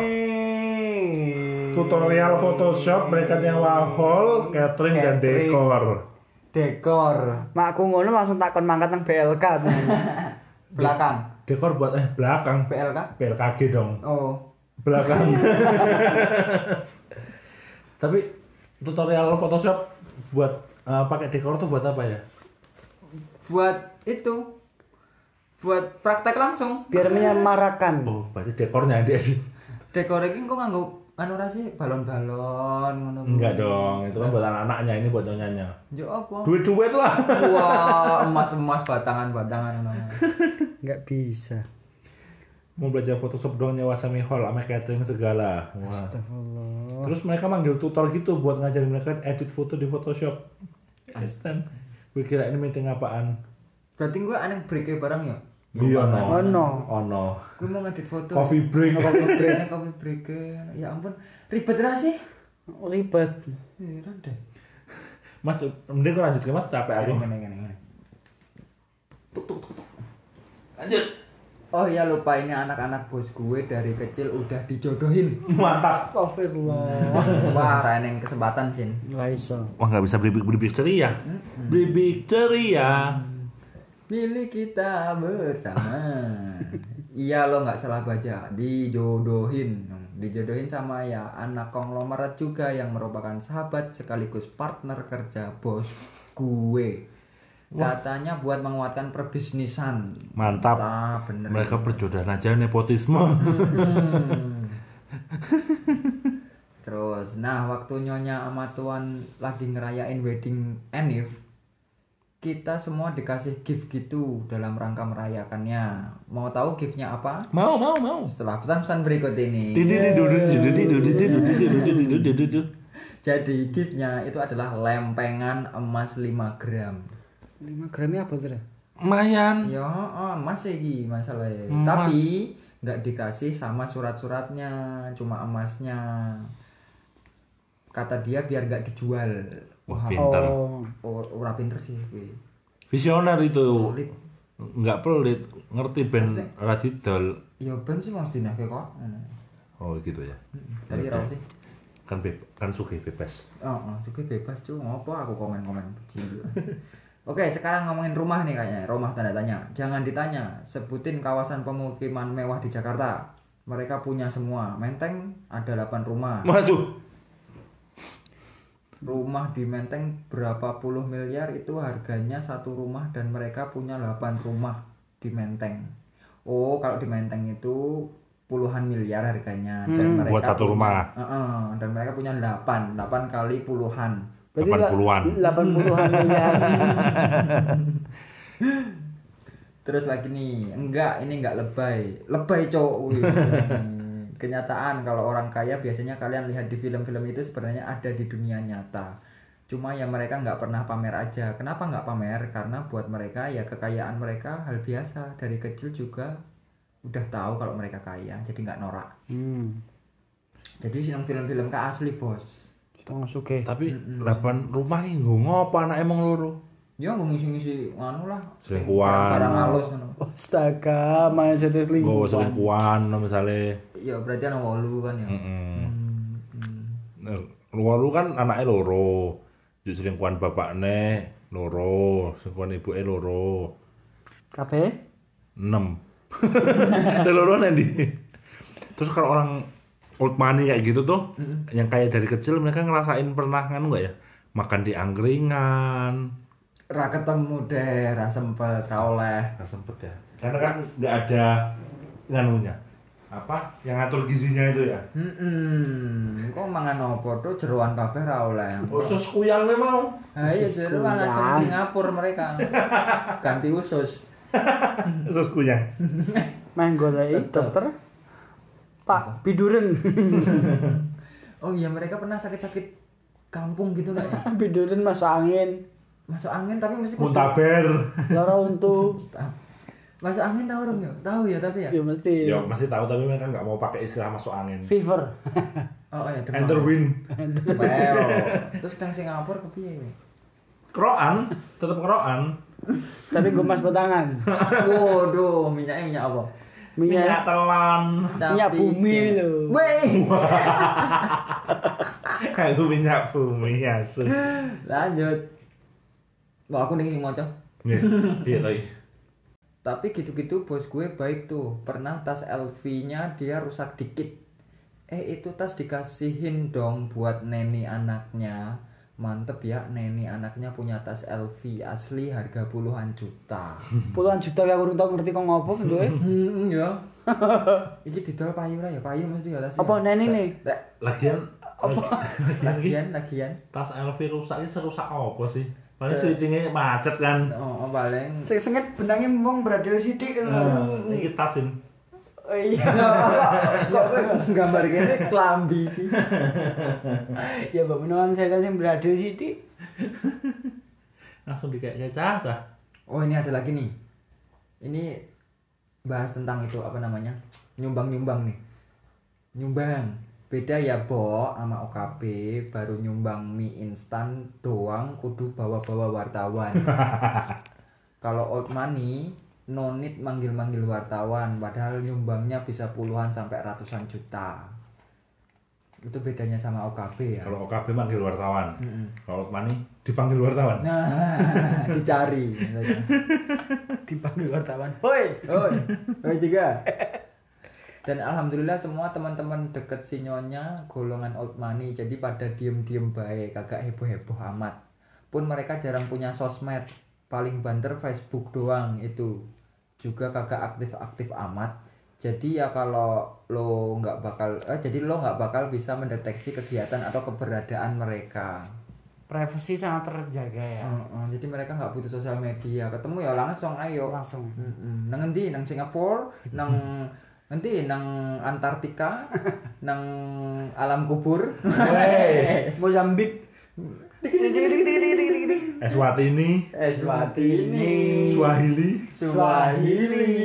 Speaker 1: tutorial Photoshop mereka nyewa hall catering, dan
Speaker 2: Catering.
Speaker 1: dekor
Speaker 2: Dekor
Speaker 3: Makku ngono langsung takon mangkat nang BLK.
Speaker 2: belakang.
Speaker 1: dekor buat eh belakang
Speaker 2: PLK.
Speaker 1: PLKG dong
Speaker 2: Oh.
Speaker 1: belakang tapi tutorial Photoshop buat eh, pakai dekor tuh buat apa ya
Speaker 2: Buat itu. Buat praktek langsung.
Speaker 3: Biar menyemarakan.
Speaker 1: oh berarti dekornya yang diedit
Speaker 2: Dekor iki engko nganggo anu ra sih balon-balon ngono. kuwi.
Speaker 1: enggak dong itu kan buat anak-anaknya ini buat nyonyanya
Speaker 2: Yo apa?
Speaker 1: duit-duit lah
Speaker 2: Wah, emas-emas batangan-batangan ngono.
Speaker 3: Enggak bisa.
Speaker 1: mau belajar Photoshop dong nyewa semi hall sama catering segala Wah.
Speaker 3: Astagfirullah.
Speaker 1: terus mereka manggil tutor gitu buat ngajarin mereka edit foto di Photoshop Astan gue kira ini meeting apaan
Speaker 2: Berarti gue aneh break barang ya.
Speaker 1: iya no
Speaker 3: Oh no.
Speaker 1: oh no
Speaker 2: Gue mau ngedit foto.
Speaker 1: coffee break
Speaker 2: Coffee break. Aneh coffee break. Ya ampun, ribet ra sih?
Speaker 3: Ribet.
Speaker 2: Heran deh.
Speaker 1: mas mending gue lanjut ke mas capek aku
Speaker 2: Ngene ngene ngene. Tuk, tuk, tuk, tuk. Lanjut. Oh ya lupa ini anak-anak bos gue dari kecil udah dijodohin.
Speaker 1: mantap
Speaker 3: Astagfirullah.
Speaker 2: Wah, reneng kesempatan sin.
Speaker 3: Enggak iso.
Speaker 1: wah nggak bisa beribik beribik ceria beribik ceria
Speaker 2: Pilih kita bersama. iya lo nggak salah baca. Dijodohin, dijodohin sama ya anak konglomerat juga yang merupakan sahabat sekaligus partner kerja bos gue. Katanya buat menguatkan perbisnisan.
Speaker 1: mantap
Speaker 2: Ah bener.
Speaker 1: mereka perjodohan aja nepotisme
Speaker 2: Terus, nah waktu nyonya sama tuan lagi ngerayain wedding Enif, kita semua dikasih gift gitu dalam rangka merayakannya. Mau tahu giftnya apa?
Speaker 1: Mau mau mau.
Speaker 2: Setelah pesan-pesan berikut ini. Jadi giftnya itu adalah lempengan emas 5 gram.
Speaker 3: 5 gramnya apa tuh? Ra?
Speaker 1: Mayan.
Speaker 2: Ya, oh, emas iki masalahnya. Tapi nggak dikasih sama surat-suratnya, cuma emasnya. Kata dia biar nggak dijual.
Speaker 1: Wah,
Speaker 2: Wah,
Speaker 1: pinter.
Speaker 3: Oh,
Speaker 2: or- ora pinter sih kuwi.
Speaker 1: Visioner itu.
Speaker 2: Pelit.
Speaker 1: Nggak pelit, ngerti ben radidol.
Speaker 2: Ya ben sih Mas Dinake kok. Ngono.
Speaker 1: Oh, gitu ya.
Speaker 2: Tadi ra sih.
Speaker 1: Kan be kan sugih bebas.
Speaker 2: Oh, oh sih bebas cuy, ngopo aku komen-komen kecil. Oke, sekarang ngomongin rumah nih kayaknya. Rumah tanda tanya. Jangan ditanya, sebutin kawasan pemukiman mewah di Jakarta. Mereka punya semua. Menteng ada 8 rumah.
Speaker 1: Waduh.
Speaker 2: Rumah di Menteng berapa puluh miliar itu harganya satu rumah dan mereka punya 8 rumah di Menteng. Oh, kalau di Menteng itu puluhan miliar harganya dan
Speaker 1: Hmm,
Speaker 2: mereka
Speaker 1: Buat satu
Speaker 2: punya-
Speaker 1: rumah.
Speaker 2: Heeh, dan mereka punya 8, 8 kali puluhan.
Speaker 1: 80-an.
Speaker 3: 80-an miliar.
Speaker 2: Terus lagi nih, enggak ini enggak lebay. Lebay, cowok. Wih. Kenyataan kalau orang kaya biasanya kalian lihat di film-film itu sebenarnya ada di dunia nyata. Cuma ya mereka nggak pernah pamer aja. Kenapa nggak pamer? Karena buat mereka ya kekayaan mereka hal biasa. Dari kecil juga udah tahu kalau mereka kaya, jadi nggak norak.
Speaker 3: Hmm.
Speaker 2: Jadi sinong film-film ke asli bos.
Speaker 3: Kita masuk ke.
Speaker 1: Tapi lapan rumah nggo ngopo anak emang loro.
Speaker 2: Ya nggak ngisi-ngisi anu lah.
Speaker 1: Selingkuhan.
Speaker 2: Barang halus anu.
Speaker 3: Astaga, mindset
Speaker 1: Nggo
Speaker 3: selingkuh.
Speaker 1: selingkuhan misalnya.
Speaker 2: Ya berarti anu wolu kan ya.
Speaker 1: Heeh.
Speaker 2: Hmm, hmm.
Speaker 1: Loro kan anaknya loro. Jadi selingkuhan bapakne loro, selingkuhan ibuke loro.
Speaker 3: Kabeh?
Speaker 1: 6 seluruh nanti terus kalau orang old money kayak gitu tuh yang kayak dari kecil mereka ngerasain pernah kan nggak ya makan di angkringan
Speaker 2: ra ketemu deh, ra sempet, ra oleh.
Speaker 1: nggak sempet ya karena kan nggak ada nganunya apa yang ngatur gizinya itu ya
Speaker 2: Mm-mm. Kok mangan opo tuh jeroan kabeh ra oleh.
Speaker 3: Oh,
Speaker 1: usus Oh, kuyang nih mau
Speaker 2: Ha iya jeroan langsung ke Singapura mereka. Ganti usus.
Speaker 1: usus kuyang
Speaker 3: Main golek dokter. Pak Biduren.
Speaker 2: Oh iya mereka pernah sakit-sakit kampung gitu nggak ya?
Speaker 3: Biduren masuk angin.
Speaker 2: Masuk angin tapi mesti kudu-
Speaker 1: muntaber
Speaker 3: Lara untuk.
Speaker 2: Masuk angin tahu dong ya? Tahu ya tapi ya.
Speaker 3: Ya mesti.
Speaker 1: ya masih tahu tapi mereka nggak mau pakai istilah masuk angin
Speaker 3: Fever.
Speaker 2: Oh iya demam.
Speaker 1: enter win
Speaker 2: Well. Terus nang Singapura kepiye ini?
Speaker 1: kroan tetap kroan
Speaker 3: Tapi gemas batangan.
Speaker 2: Waduh, minyaknya minyak apa?
Speaker 3: Minyak
Speaker 1: minyak telan
Speaker 3: Minyak
Speaker 2: Capi
Speaker 3: bumi
Speaker 2: hijau.
Speaker 3: lho.
Speaker 2: Weh.
Speaker 1: aku minyak bumi asu
Speaker 2: Lanjut. Wah, aku ning sing maca.
Speaker 1: Iya, iya lagi.
Speaker 2: Tapi gitu-gitu bos gue baik tuh. Pernah tas LV-nya dia rusak dikit. Eh itu tas dikasihin dong buat neni anaknya. Mantep ya, neni anaknya punya tas LV asli harga puluhan juta.
Speaker 3: Puluhan juta ya aku tau ngerti kok ngopo bentuke.
Speaker 2: Hmm, ya. Iki didol payu lah ya, payu mesti ya tasnya.
Speaker 3: Apa neni nih?
Speaker 2: Lek,
Speaker 1: Lagian lagi
Speaker 2: Lagian, lagian.
Speaker 1: tas LV rusak ini serusak apa sih? Paling selitingnya macet kan.
Speaker 2: Oh, oh, paling.
Speaker 3: Sing sengit benangnya mong beradil
Speaker 2: Hmm.
Speaker 3: sidik.
Speaker 1: Nah, ini tasin.
Speaker 3: Oh Iya.
Speaker 2: Kok kok gambar gini kelambi sih.
Speaker 3: Ya mbak menawan saya sing beradil sidik.
Speaker 1: Langsung dikayaknya cacah.
Speaker 2: Oh ini ada lagi nih. Ini bahas tentang itu apa namanya nyumbang nyumbang nih. Nyumbang beda ya Bo sama OKB baru nyumbang mie instan doang kudu bawa-bawa wartawan. Kalau old money no need manggil-manggil wartawan padahal nyumbangnya bisa puluhan sampai ratusan juta. Itu bedanya sama OKB ya.
Speaker 1: Kalau OKB manggil wartawan.
Speaker 2: Mm-mm.
Speaker 1: Kalau Otmani dipanggil wartawan.
Speaker 2: Nah, dicari.
Speaker 3: Dipanggil wartawan. Hoi.
Speaker 2: Oh, oh juga. Dan alhamdulillah semua teman-teman deket sinyonya golongan old money jadi pada diem-diem baik, kagak heboh-heboh amat. Pun mereka jarang punya sosmed, paling banter Facebook doang itu. Juga kagak aktif-aktif amat. jadi ya kalau lo nggak bakal eh, jadi lo nggak bakal bisa mendeteksi kegiatan atau keberadaan mereka
Speaker 3: Privacy sangat terjaga ya.
Speaker 2: Mm-mm, jadi mereka nggak butuh sosial media ketemu ya langsung ayo
Speaker 3: Langsung.
Speaker 2: Mm-mm. nang endi nang Singapura nang nanti nang Antartika nang alam kubur
Speaker 1: Wey.
Speaker 3: Mozambik.
Speaker 1: Eswatini,
Speaker 2: Eswatini
Speaker 1: Swahili,
Speaker 2: Swahili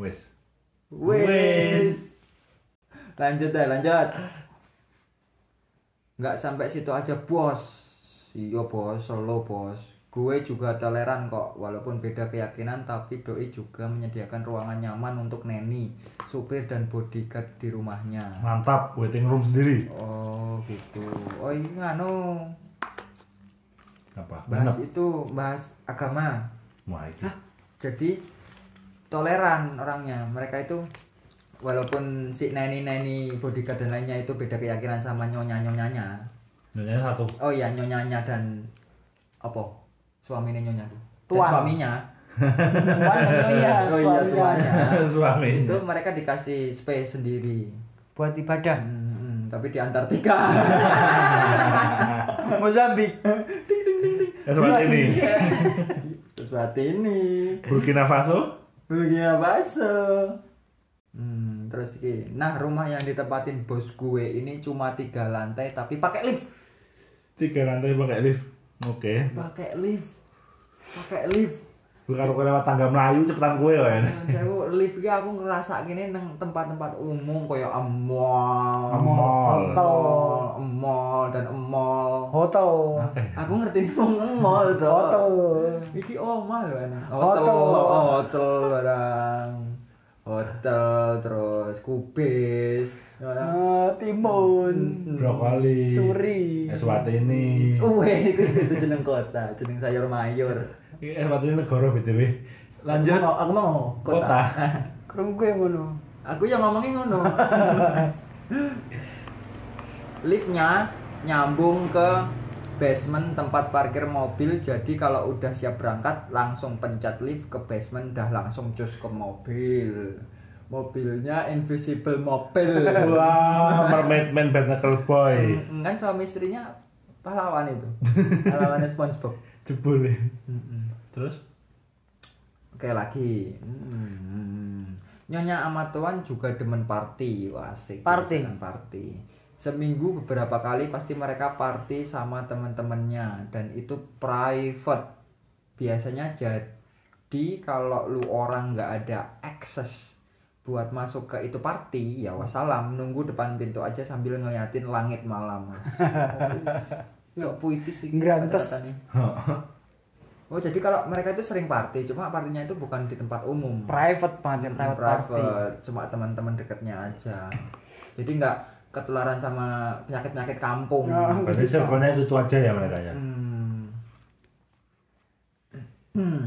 Speaker 1: wes.
Speaker 2: Wes. Lanjut deh, lanjut. Nggak sampai situ aja, Bos. Iya, Bos, solo, Bos. Gue juga toleran kok, walaupun beda keyakinan tapi doi juga menyediakan ruangan nyaman untuk neni, supir dan bodyguard di rumahnya.
Speaker 1: Mantap, waiting room sendiri.
Speaker 2: Oh, gitu. Oh, iya anu.
Speaker 1: Apa?
Speaker 2: Bahas
Speaker 1: Benar.
Speaker 2: itu bahas agama.
Speaker 1: Wah, iki.
Speaker 2: jadi toleran orangnya mereka itu walaupun si neni neni bodyguard dan lainnya itu beda keyakinan sama nyonya nyonyanya
Speaker 1: Nyonya satu.
Speaker 2: oh iya nyonyanya dan apa suaminya nyonya itu dan
Speaker 3: Tuan.
Speaker 2: suaminya
Speaker 3: Tuan dan nyonya,
Speaker 2: oh iya
Speaker 3: suaminya.
Speaker 2: tuannya
Speaker 1: Suami.
Speaker 2: itu mereka dikasih space sendiri
Speaker 3: Buat ibadah.
Speaker 2: Hmm, hmm, tapi di Antartika
Speaker 3: Mozambik.
Speaker 1: Eswatini,
Speaker 2: sesuatu ini
Speaker 1: Burkina Faso,
Speaker 2: Burkina Faso. Hmm, terus iki. Nah, rumah yang ditempatin bos gue ini cuma tiga lantai tapi pakai lift.
Speaker 1: tiga lantai pakai lift. Oke.
Speaker 2: Pakai lift. Pakai lift.
Speaker 1: Gue kalau gue lewat tangga Melayu cepetan gue ya.
Speaker 2: Nah, Saya lift iki aku ngerasa gini nang tempat-tempat umum kayak mall,
Speaker 1: Mall.
Speaker 2: mall, mall dan mall.
Speaker 3: Hotel.
Speaker 1: Oke.
Speaker 2: Aku ngerti ini ngomong mall
Speaker 3: Hotel.
Speaker 2: dong. Iki omah lho enak.
Speaker 3: Hotel.
Speaker 2: Hotel, hotel barang. Hotel terus kubis. Ya.
Speaker 3: Eh, timun.
Speaker 1: Brokoli. Eh,
Speaker 3: Suri.
Speaker 1: Eswatini.
Speaker 2: Iya. Weh, itu, itu jeneng kota, jeneng sayur mayur.
Speaker 1: Iki Eswatini Eh, negara BTW.
Speaker 2: Lanjut. Aku mau, aku mau kota.
Speaker 1: Kota.
Speaker 3: Kerung gue ngono.
Speaker 2: Aku yang ngomongin ngono. Liftnya nyambung ke basement tempat parkir mobil. Jadi kalau udah siap berangkat, langsung pencet lift ke basement, dah langsung cus ke mobil. Mobilnya invisible mobil.
Speaker 1: Wah, Mermaid Man Barnacle Boy.
Speaker 2: kan suami istrinya pahlawan itu, pahlawannya SpongeBob.
Speaker 1: Jebul. ya.
Speaker 2: Mm-mm.
Speaker 1: Terus?
Speaker 2: Oke lagi. Hmm. Nyonya Amatuan juga demen party, wah asik.
Speaker 3: Party.
Speaker 2: Seneng party. Seminggu beberapa kali pasti mereka party sama temen-temennya dan itu private. Biasanya jadi kalau lu orang nggak ada akses buat masuk ke itu party ya wassalam nunggu depan pintu aja sambil ngeliatin langit malam mas sok puitis sih
Speaker 3: Ngrantes.
Speaker 2: kata-katanya. Oh jadi kalau mereka itu sering party, cuma partinya itu bukan di tempat umum,
Speaker 3: Private banget ya, private, party.
Speaker 2: cuma teman-teman dekatnya aja. Jadi nggak ketularan sama penyakit-penyakit kampung.
Speaker 3: Oh.
Speaker 1: Berarti circle-nya itu, itu aja ya mereka ya.
Speaker 2: Hmm. Hmm.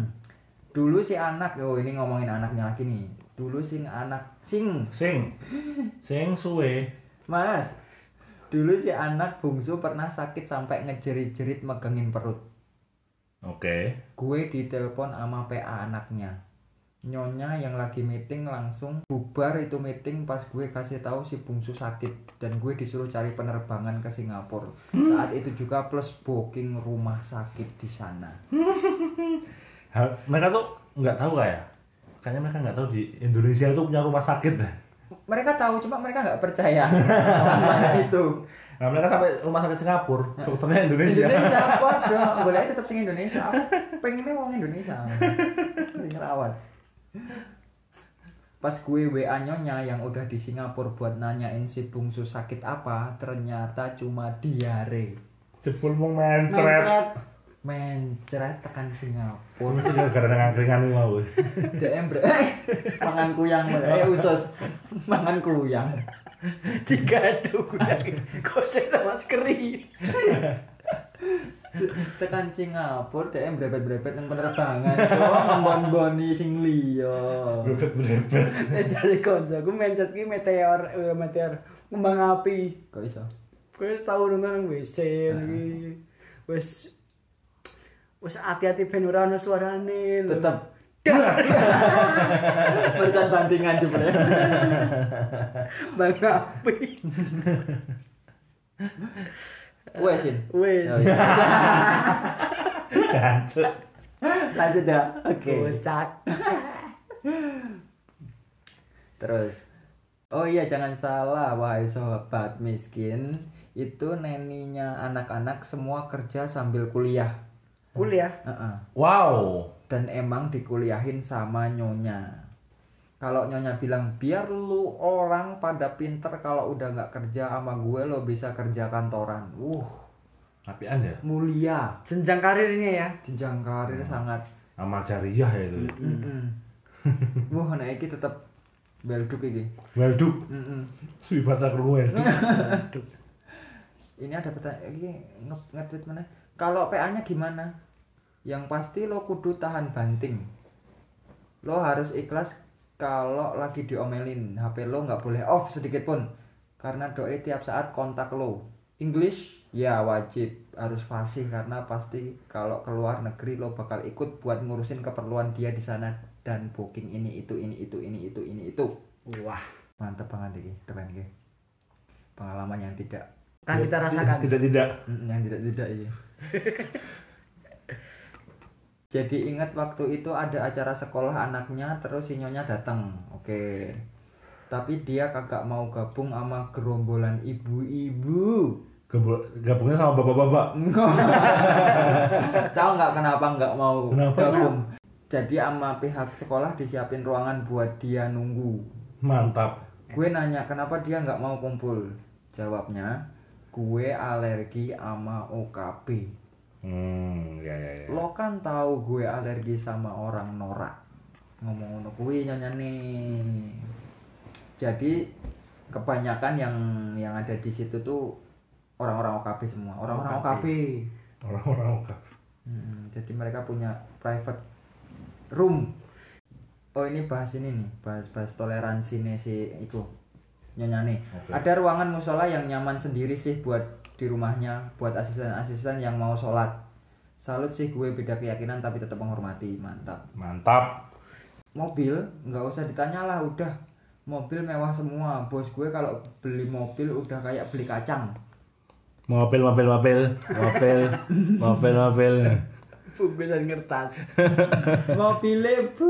Speaker 2: Dulu si anak, oh ini ngomongin anaknya lagi nih. Dulu sing anak, sing
Speaker 1: Sing. Sing suwe.
Speaker 2: mas. Dulu si anak bungsu pernah sakit sampai ngejerit-jerit megangin perut.
Speaker 1: Oke.
Speaker 2: Gue ditelepon sama PA anaknya. Nyonya yang lagi meeting langsung bubar itu meeting pas gue kasih tahu si bungsu sakit dan gue disuruh cari penerbangan ke Singapura. Saat itu juga plus booking rumah sakit di sana.
Speaker 1: Ha- Mereka tuh nggak tahu kayak. Kayaknya mereka nggak tahu di Indonesia itu punya rumah sakit.
Speaker 2: Mereka tahu cuma mereka nggak percaya sama itu.
Speaker 1: Nah, mereka sampai rumah sakit Singapura, dokternya Indonesia.
Speaker 2: Indonesia padha, boleh aja tetap sing Indonesia. Aku pengennya wong Indonesia. Sing ngerawat. Pas gue WA nyonya yang udah di Singapura buat nanyain si bungsu sakit apa, ternyata cuma diare.
Speaker 1: Jebul mau mencret.
Speaker 2: Mencret tekan Singapura.
Speaker 1: Ini sih gara-gara ngangkringan ini mau.
Speaker 2: DM bre. Eh, mangan kuyang Bre. eh usus. Mangan kuyang.
Speaker 3: Tiga tuh gue. Kok saya maskeri.
Speaker 2: tekan Singapura DM brebet-brebet nang penerbangan. Oh, ngembon-boni sing liya.
Speaker 1: Berbet-berbet.
Speaker 3: Eh cari konco, gue mencet ki meteor, eh, meteor kembang api.
Speaker 2: Kok iso?
Speaker 3: Gue wis tau nonton nang WC
Speaker 2: Ah.
Speaker 3: iki. Wis wis hati-hati ben ora ono suarane. lho.
Speaker 2: Tetep. Iya, Berikan bantingan juga ya.
Speaker 3: Bang api.
Speaker 2: Wes, Sin.
Speaker 3: Wes.
Speaker 2: Ya, ya.
Speaker 1: Gancuk.
Speaker 2: Lanjut ya. Oke.
Speaker 3: Kocak.
Speaker 2: Terus Oh iya jangan salah wahai sobat miskin itu neninya anak-anak semua kerja sambil kuliah
Speaker 3: Kuliah.
Speaker 2: Heeh.
Speaker 1: Wow.
Speaker 2: dan emang dikuliahin sama nyonya kalau nyonya bilang biar lu orang pada pinter kalau udah nggak kerja sama gue lo bisa kerja kantoran uh
Speaker 1: Tapi anda
Speaker 2: mulia
Speaker 3: Jenjang karirnya ya.
Speaker 2: jenjang karir sangat
Speaker 1: amal jariah ya itu.
Speaker 2: Mm-mm. wah anak iki tetap belduk iki
Speaker 1: Welduk.
Speaker 2: Mm-mm.
Speaker 1: Swibata kru welduk.
Speaker 3: Aduh.
Speaker 2: ini ada pertanyaan ini nge- nge-tweet mana kalau PA nya gimana yang pasti lo kudu tahan banting lo harus ikhlas kalau lagi diomelin HP lo nggak boleh off sedikit pun karena doi tiap saat kontak lo English ya wajib harus fasih karena pasti kalau keluar negeri lo bakal ikut buat ngurusin keperluan dia di sana dan booking ini itu ini itu ini itu ini itu
Speaker 3: Wah.
Speaker 2: mantep banget ini keren iki. pengalaman yang tidak
Speaker 3: Kan kita rasakan.
Speaker 1: Tidak tidak.
Speaker 2: Mm, yang tidak tidak iya. Jadi ingat waktu itu ada acara sekolah anaknya terus sinyonya datang. Oke. Tapi dia kagak mau gabung sama gerombolan ibu-ibu.
Speaker 1: Gabung- Gabungnya sama bapak-bapak.
Speaker 2: Tahu nggak kenapa nggak mau
Speaker 1: Kenapa?
Speaker 2: gabung? Jadi sama pihak sekolah disiapin ruangan buat dia nunggu.
Speaker 1: Mantap.
Speaker 2: Gue nanya kenapa dia nggak mau kumpul. Jawabnya, gue alergi sama OKB.
Speaker 1: Hmm, ya ya ya.
Speaker 2: lo kan tahu gue alergi sama orang norak ngomong ngono kuwi nyonya nih jadi kebanyakan yang yang ada di situ tuh orang-orang OKB semua orang-orang OKB,
Speaker 1: Orang-orang OKB.
Speaker 2: Mm, jadi mereka punya private room oh ini bahas ini nih bahas bahas toleransi nih si itu nyonya nih
Speaker 1: Oke.
Speaker 2: ada ruangan musola yang nyaman sendiri sih buat di rumahnya buat asisten-asisten yang mau sholat salut sih gue beda keyakinan tapi tetap menghormati mantap
Speaker 1: Mantap.
Speaker 2: mobil nggak usah ditanya lah udah mobil mewah semua bos gue kalau beli mobil udah kayak beli kacang
Speaker 1: Mobil, mobil, mobil, mobil, mobil, mobil.
Speaker 3: Pembesan kertas.
Speaker 2: mobilnya bu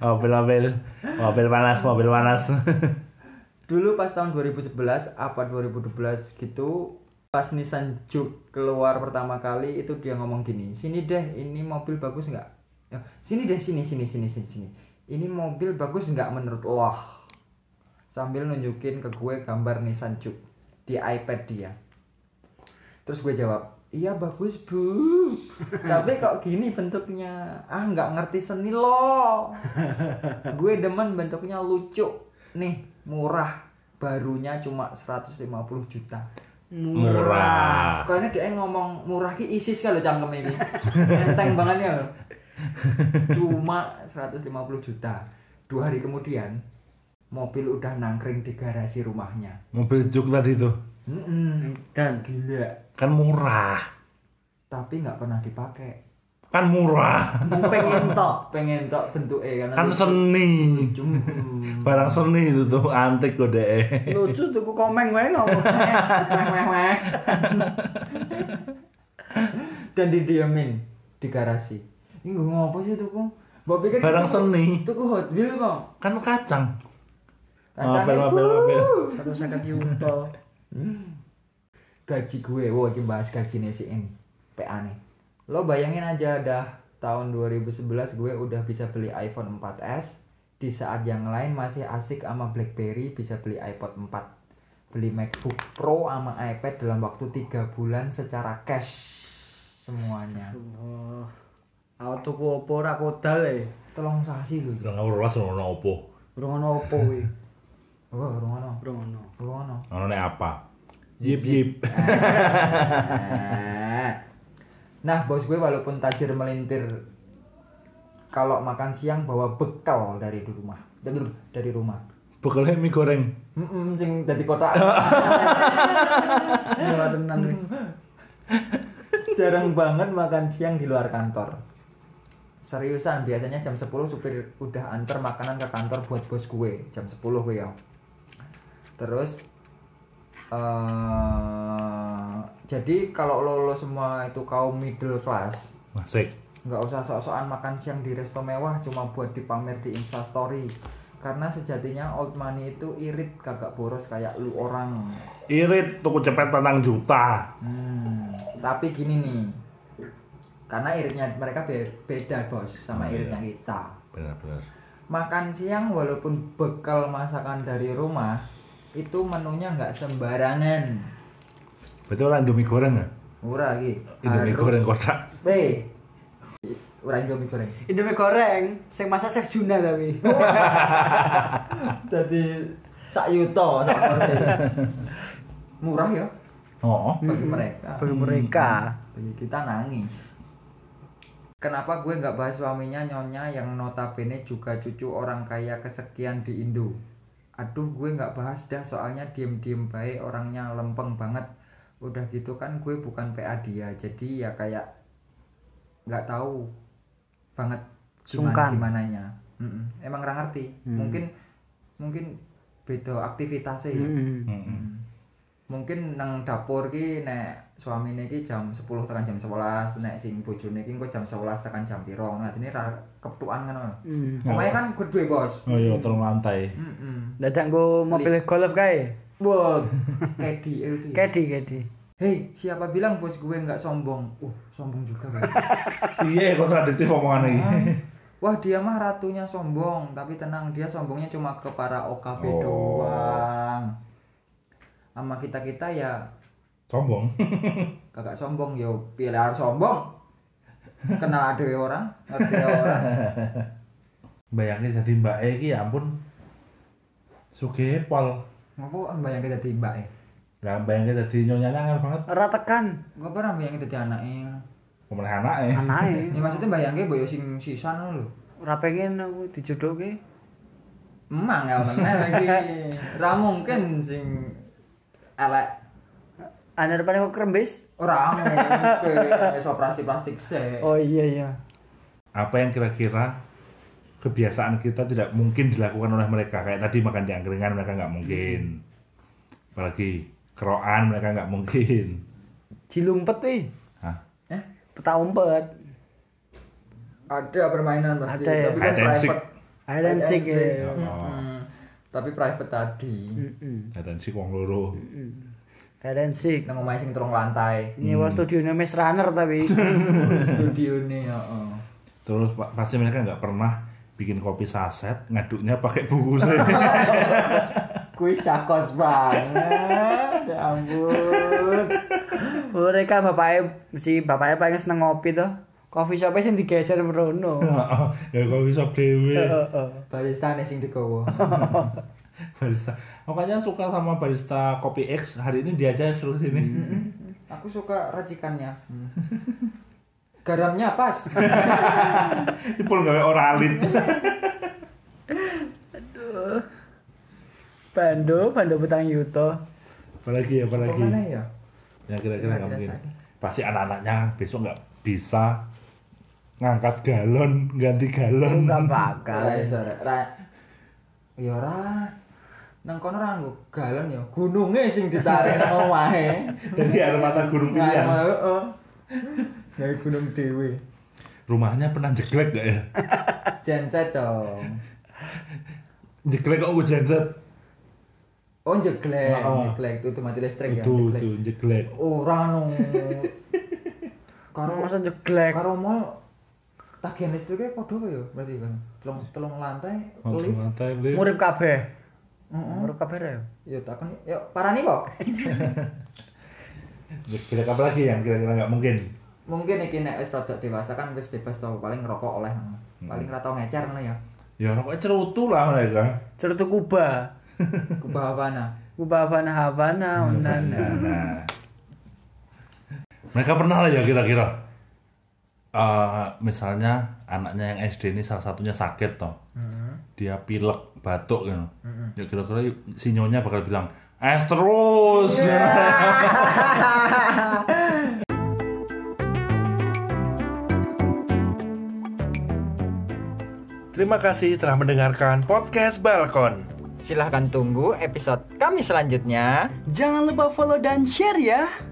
Speaker 1: Mobil, mobil, mobil panas, mobil panas.
Speaker 2: dulu pas tahun 2011 apa 2012 gitu pas Nissan Juke keluar pertama kali itu dia ngomong gini sini deh ini mobil bagus nggak Ya, sini deh sini sini sini sini sini ini mobil bagus nggak menurut lo sambil nunjukin ke gue gambar Nissan Juke di iPad dia terus gue jawab iya bagus bu tapi kok gini bentuknya ah nggak ngerti seni lo gue demen bentuknya lucu nih murah barunya cuma 150 juta
Speaker 1: Murah.
Speaker 2: kayaknya dia ngomong murah ki isis kalau cangkem ini enteng banget ya loh. cuma 150 juta dua hari kemudian mobil udah nangkring di garasi rumahnya
Speaker 1: Mobil juk tadi tuh.
Speaker 2: Mm-mm.
Speaker 3: Dan
Speaker 2: gila
Speaker 1: Kan murah.
Speaker 2: tapi nggak pernah dipakai
Speaker 1: Kan murah.
Speaker 2: pengen tok pengen tok bentuknya karena
Speaker 1: Kan seni.
Speaker 2: cuma
Speaker 1: Barang seni itu tuh antik kok deh.
Speaker 3: lucu tuh ku komeng wae ngomongnya.
Speaker 2: dan didiamin di garasi ini gue ngopo sih tuh mbak pikir
Speaker 1: Barang
Speaker 2: itu-
Speaker 1: seni.
Speaker 2: itu ku Hot Wheels kok
Speaker 1: Kan kacang.
Speaker 2: Kacangnya,
Speaker 1: Mobil, mobil,
Speaker 2: wuh.
Speaker 1: mobil.
Speaker 3: Satu sangat yuto.
Speaker 2: Hmm. gaji gue wow ini bahas gaji nih si ini PA nih lo bayangin aja dah tahun 2011 gue udah bisa beli iPhone 4s di saat yang lain masih asik sama BlackBerry bisa beli iPod 4 beli MacBook Pro sama iPad dalam waktu tiga bulan secara cash semuanya
Speaker 3: Wah. Aku tuku opo ora kodal e.
Speaker 2: tolong sasi lu
Speaker 1: Udah ngawur lah sono opo.
Speaker 3: Urung ono opo kuwi.
Speaker 2: oh rungono
Speaker 3: Urung ono.
Speaker 2: rungono
Speaker 1: Ono nek apa? Yip yip.
Speaker 2: nah bos gue walaupun tajir melintir kalau makan siang bawa bekal dari di rumah dari dari rumah
Speaker 1: Bekalnya mie goreng.
Speaker 2: Mm-mm, sing dari kota
Speaker 3: Ora tenan kuwi.
Speaker 2: jarang banget makan siang di luar kantor seriusan biasanya jam 10 supir udah antar makanan ke kantor buat bos gue jam 10 gue ya terus eh jadi kalau lo, lo semua itu kaum middle class
Speaker 1: Masik.
Speaker 2: nggak usah sok-sokan makan siang di resto mewah cuma buat dipamer di instastory karena sejatinya old money itu irit kagak boros kayak lu orang
Speaker 1: Irit tuku cepet patang juta.
Speaker 2: Hmm, tapi gini nih. Karena iritnya mereka be- beda, Bos,
Speaker 1: Oh,
Speaker 2: sama
Speaker 1: iya.
Speaker 2: iritnya kita.
Speaker 1: Benar-benar.
Speaker 2: Makan siang walaupun bekal masakan dari rumah, itu menunya nggak sembarangan.
Speaker 1: Berarti orang Indomie goreng ya?
Speaker 2: Murah lagi.
Speaker 1: Indomie
Speaker 2: Harus-
Speaker 1: goreng kotak.
Speaker 2: Eh. Ora Indomie goreng.
Speaker 3: Indomie goreng, sing masak Chef Juna tapi.
Speaker 2: Jadi sak yuto sak porsi. Murah ya
Speaker 1: Oh.
Speaker 2: bagi mereka.
Speaker 3: Bagi mereka.
Speaker 2: Bagi kita nangis. Kenapa gue nggak bahas suaminya nyonya yang notabene juga cucu orang kaya kesekian di Indo? Aduh gue nggak bahas dah soalnya diem-diem baik orangnya lempeng banget. Udah gitu kan gue bukan PA dia jadi ya kayak nggak tahu banget gimana
Speaker 3: Sungkan.
Speaker 2: gimananya. Mm-mm. Emang nggak ngerti. Mungkin mungkin beda aktivitasnya ya
Speaker 3: Mm-mm.
Speaker 1: Mm-mm.
Speaker 2: mungkin nang dapur ki nek suamine ki jam 10 tekan jam 11 nek sing bojone ki engko jam 11 tekan jam piro nah ini ra keptukan ngono
Speaker 3: Mm.
Speaker 2: Pokoknya kan gede bos
Speaker 1: Oh iya, turun lantai.
Speaker 2: heeh
Speaker 3: Dadak gue mau pilih golf kae.
Speaker 2: wow kayak DL tuh ya.
Speaker 3: Kedi kedi.
Speaker 2: hei siapa bilang bos gue nggak sombong uh sombong juga Bos.
Speaker 1: iya, kontradiktif omongan ini.
Speaker 2: wah dia mah ratunya sombong tapi tenang dia sombongnya cuma ke para OKB
Speaker 1: Oh.
Speaker 2: doang sama kita kita ya
Speaker 1: Sombong.
Speaker 2: kagak sombong yo pilar sombong kenal ada orang ngerti orang
Speaker 1: Bayangin jadi Mbak E ki ya ampun. Sugih pol.
Speaker 2: ngapa bayang kita tiba ya
Speaker 1: Lah bayangin jadi nyonya nyangar banget.
Speaker 3: Ora tekan
Speaker 2: gue pernah bayangin jadi anaknya
Speaker 1: Pemen anak e.
Speaker 3: anake.
Speaker 2: ya maksudnya bayangin boyo sing sisan lo lho
Speaker 3: Ora pengen aku dijodohke.
Speaker 2: emang ya meneh lagi ra mungkin sing elek
Speaker 3: Ana depan Ah, kok kerembes.
Speaker 2: ora mungkin wis operasi plastik sih
Speaker 3: Oh iya iya.
Speaker 1: Apa yang kira-kira kebiasaan kita tidak mungkin dilakukan oleh mereka kayak tadi makan di angkringan mereka nggak mungkin apalagi keroan mereka nggak mungkin
Speaker 3: Dilumpet ih.
Speaker 1: Hah?
Speaker 2: eh
Speaker 3: Peta umpet.
Speaker 2: ada permainan pasti
Speaker 3: Ada ya?
Speaker 2: tapi kan
Speaker 1: Hide and Oh. seek.
Speaker 2: private
Speaker 3: Hide and seek,
Speaker 2: Hide and seek.
Speaker 3: ya.
Speaker 2: Mm-mm. tapi private tadi
Speaker 3: Heeh.
Speaker 1: dan si wong loro
Speaker 3: Hide and seek.
Speaker 2: nang omahe sing terong lantai
Speaker 3: Nyewa studionya Miss Runner tapi.
Speaker 2: studio nih heeh
Speaker 1: terus pa- pasti mereka nggak pernah bikin kopi saset ngaduknya pakai bungkusnya
Speaker 2: Kue cakos banget, ya ampun.
Speaker 3: Mereka bapaknya si bapaknya paling seneng ngopi tuh. Coffee shopnya sih digeser merono.
Speaker 1: ya kopi shop dewe
Speaker 3: Heeh, heeh.
Speaker 2: Barista nih sing digowo.
Speaker 1: barista makanya suka sama barista kopi X hari ini dia aja suruh sini
Speaker 2: Aku suka racikannya. Garamnya pas.
Speaker 1: ini pun gawe oralit
Speaker 3: Bando, Bando Betang Yuto.
Speaker 1: apalagi apalagi
Speaker 2: Kemana ya?
Speaker 1: ya kira-kira nggak
Speaker 2: Kira-kira
Speaker 1: mungkin
Speaker 2: saatnya.
Speaker 1: pasti anak-anaknya besok nggak bisa ngangkat galon ganti galon
Speaker 3: Enggak
Speaker 2: Ra
Speaker 3: bakal.
Speaker 2: iso, Ra. Ra. Ya ora. lah. Nang kono ra nggo galon ya. Gununge sing ditarik nang omahe.
Speaker 1: dari air mata gunung
Speaker 2: Nah,
Speaker 1: pilihan
Speaker 2: emang, heeh. Gawe gunung dhewe.
Speaker 1: rumahnya pernah jeglek nggak ya
Speaker 2: Jencet dong.
Speaker 1: jeglek kok gue jenset
Speaker 2: Oh jeglek,
Speaker 1: Heeh.
Speaker 2: jeglek itu mati listrik ya.
Speaker 1: itu
Speaker 2: jeglek.
Speaker 1: itu jeglek
Speaker 2: Ora no.
Speaker 3: Orang
Speaker 2: Karo
Speaker 3: masa jeglek.
Speaker 2: karo mall tagihan listriknya padha apa ya berarti kan telung telung lantai
Speaker 1: langsung
Speaker 2: lift
Speaker 1: lantai lift
Speaker 3: Murid kabeh.
Speaker 2: Heeh.
Speaker 3: Murid kabeh ya.
Speaker 2: ya takon ya parani kok
Speaker 1: jeglek apa lagi yang kira-kira nggak mungkin
Speaker 2: mungkin iki nek wis rada dewasa kan wis bebas tau paling ngerokok oleh paling ra tau ngecer ngono ya
Speaker 1: ya rokoknya cerutu lah mereka kan.
Speaker 3: Cerutu Kuba.
Speaker 2: ke bawah mana
Speaker 3: Kuba Havana Havana Ondan.
Speaker 1: nah, nah. mereka pernah lah ya kira-kira Eh, misalnya anaknya yang SD ini salah satunya sakit toh dia pilek batuk gitu ya kira-kira si nyonya bakal bilang es terus Terima kasih telah mendengarkan podcast Balkon.
Speaker 2: Silahkan tunggu episode kami selanjutnya.
Speaker 3: Jangan lupa follow dan share ya.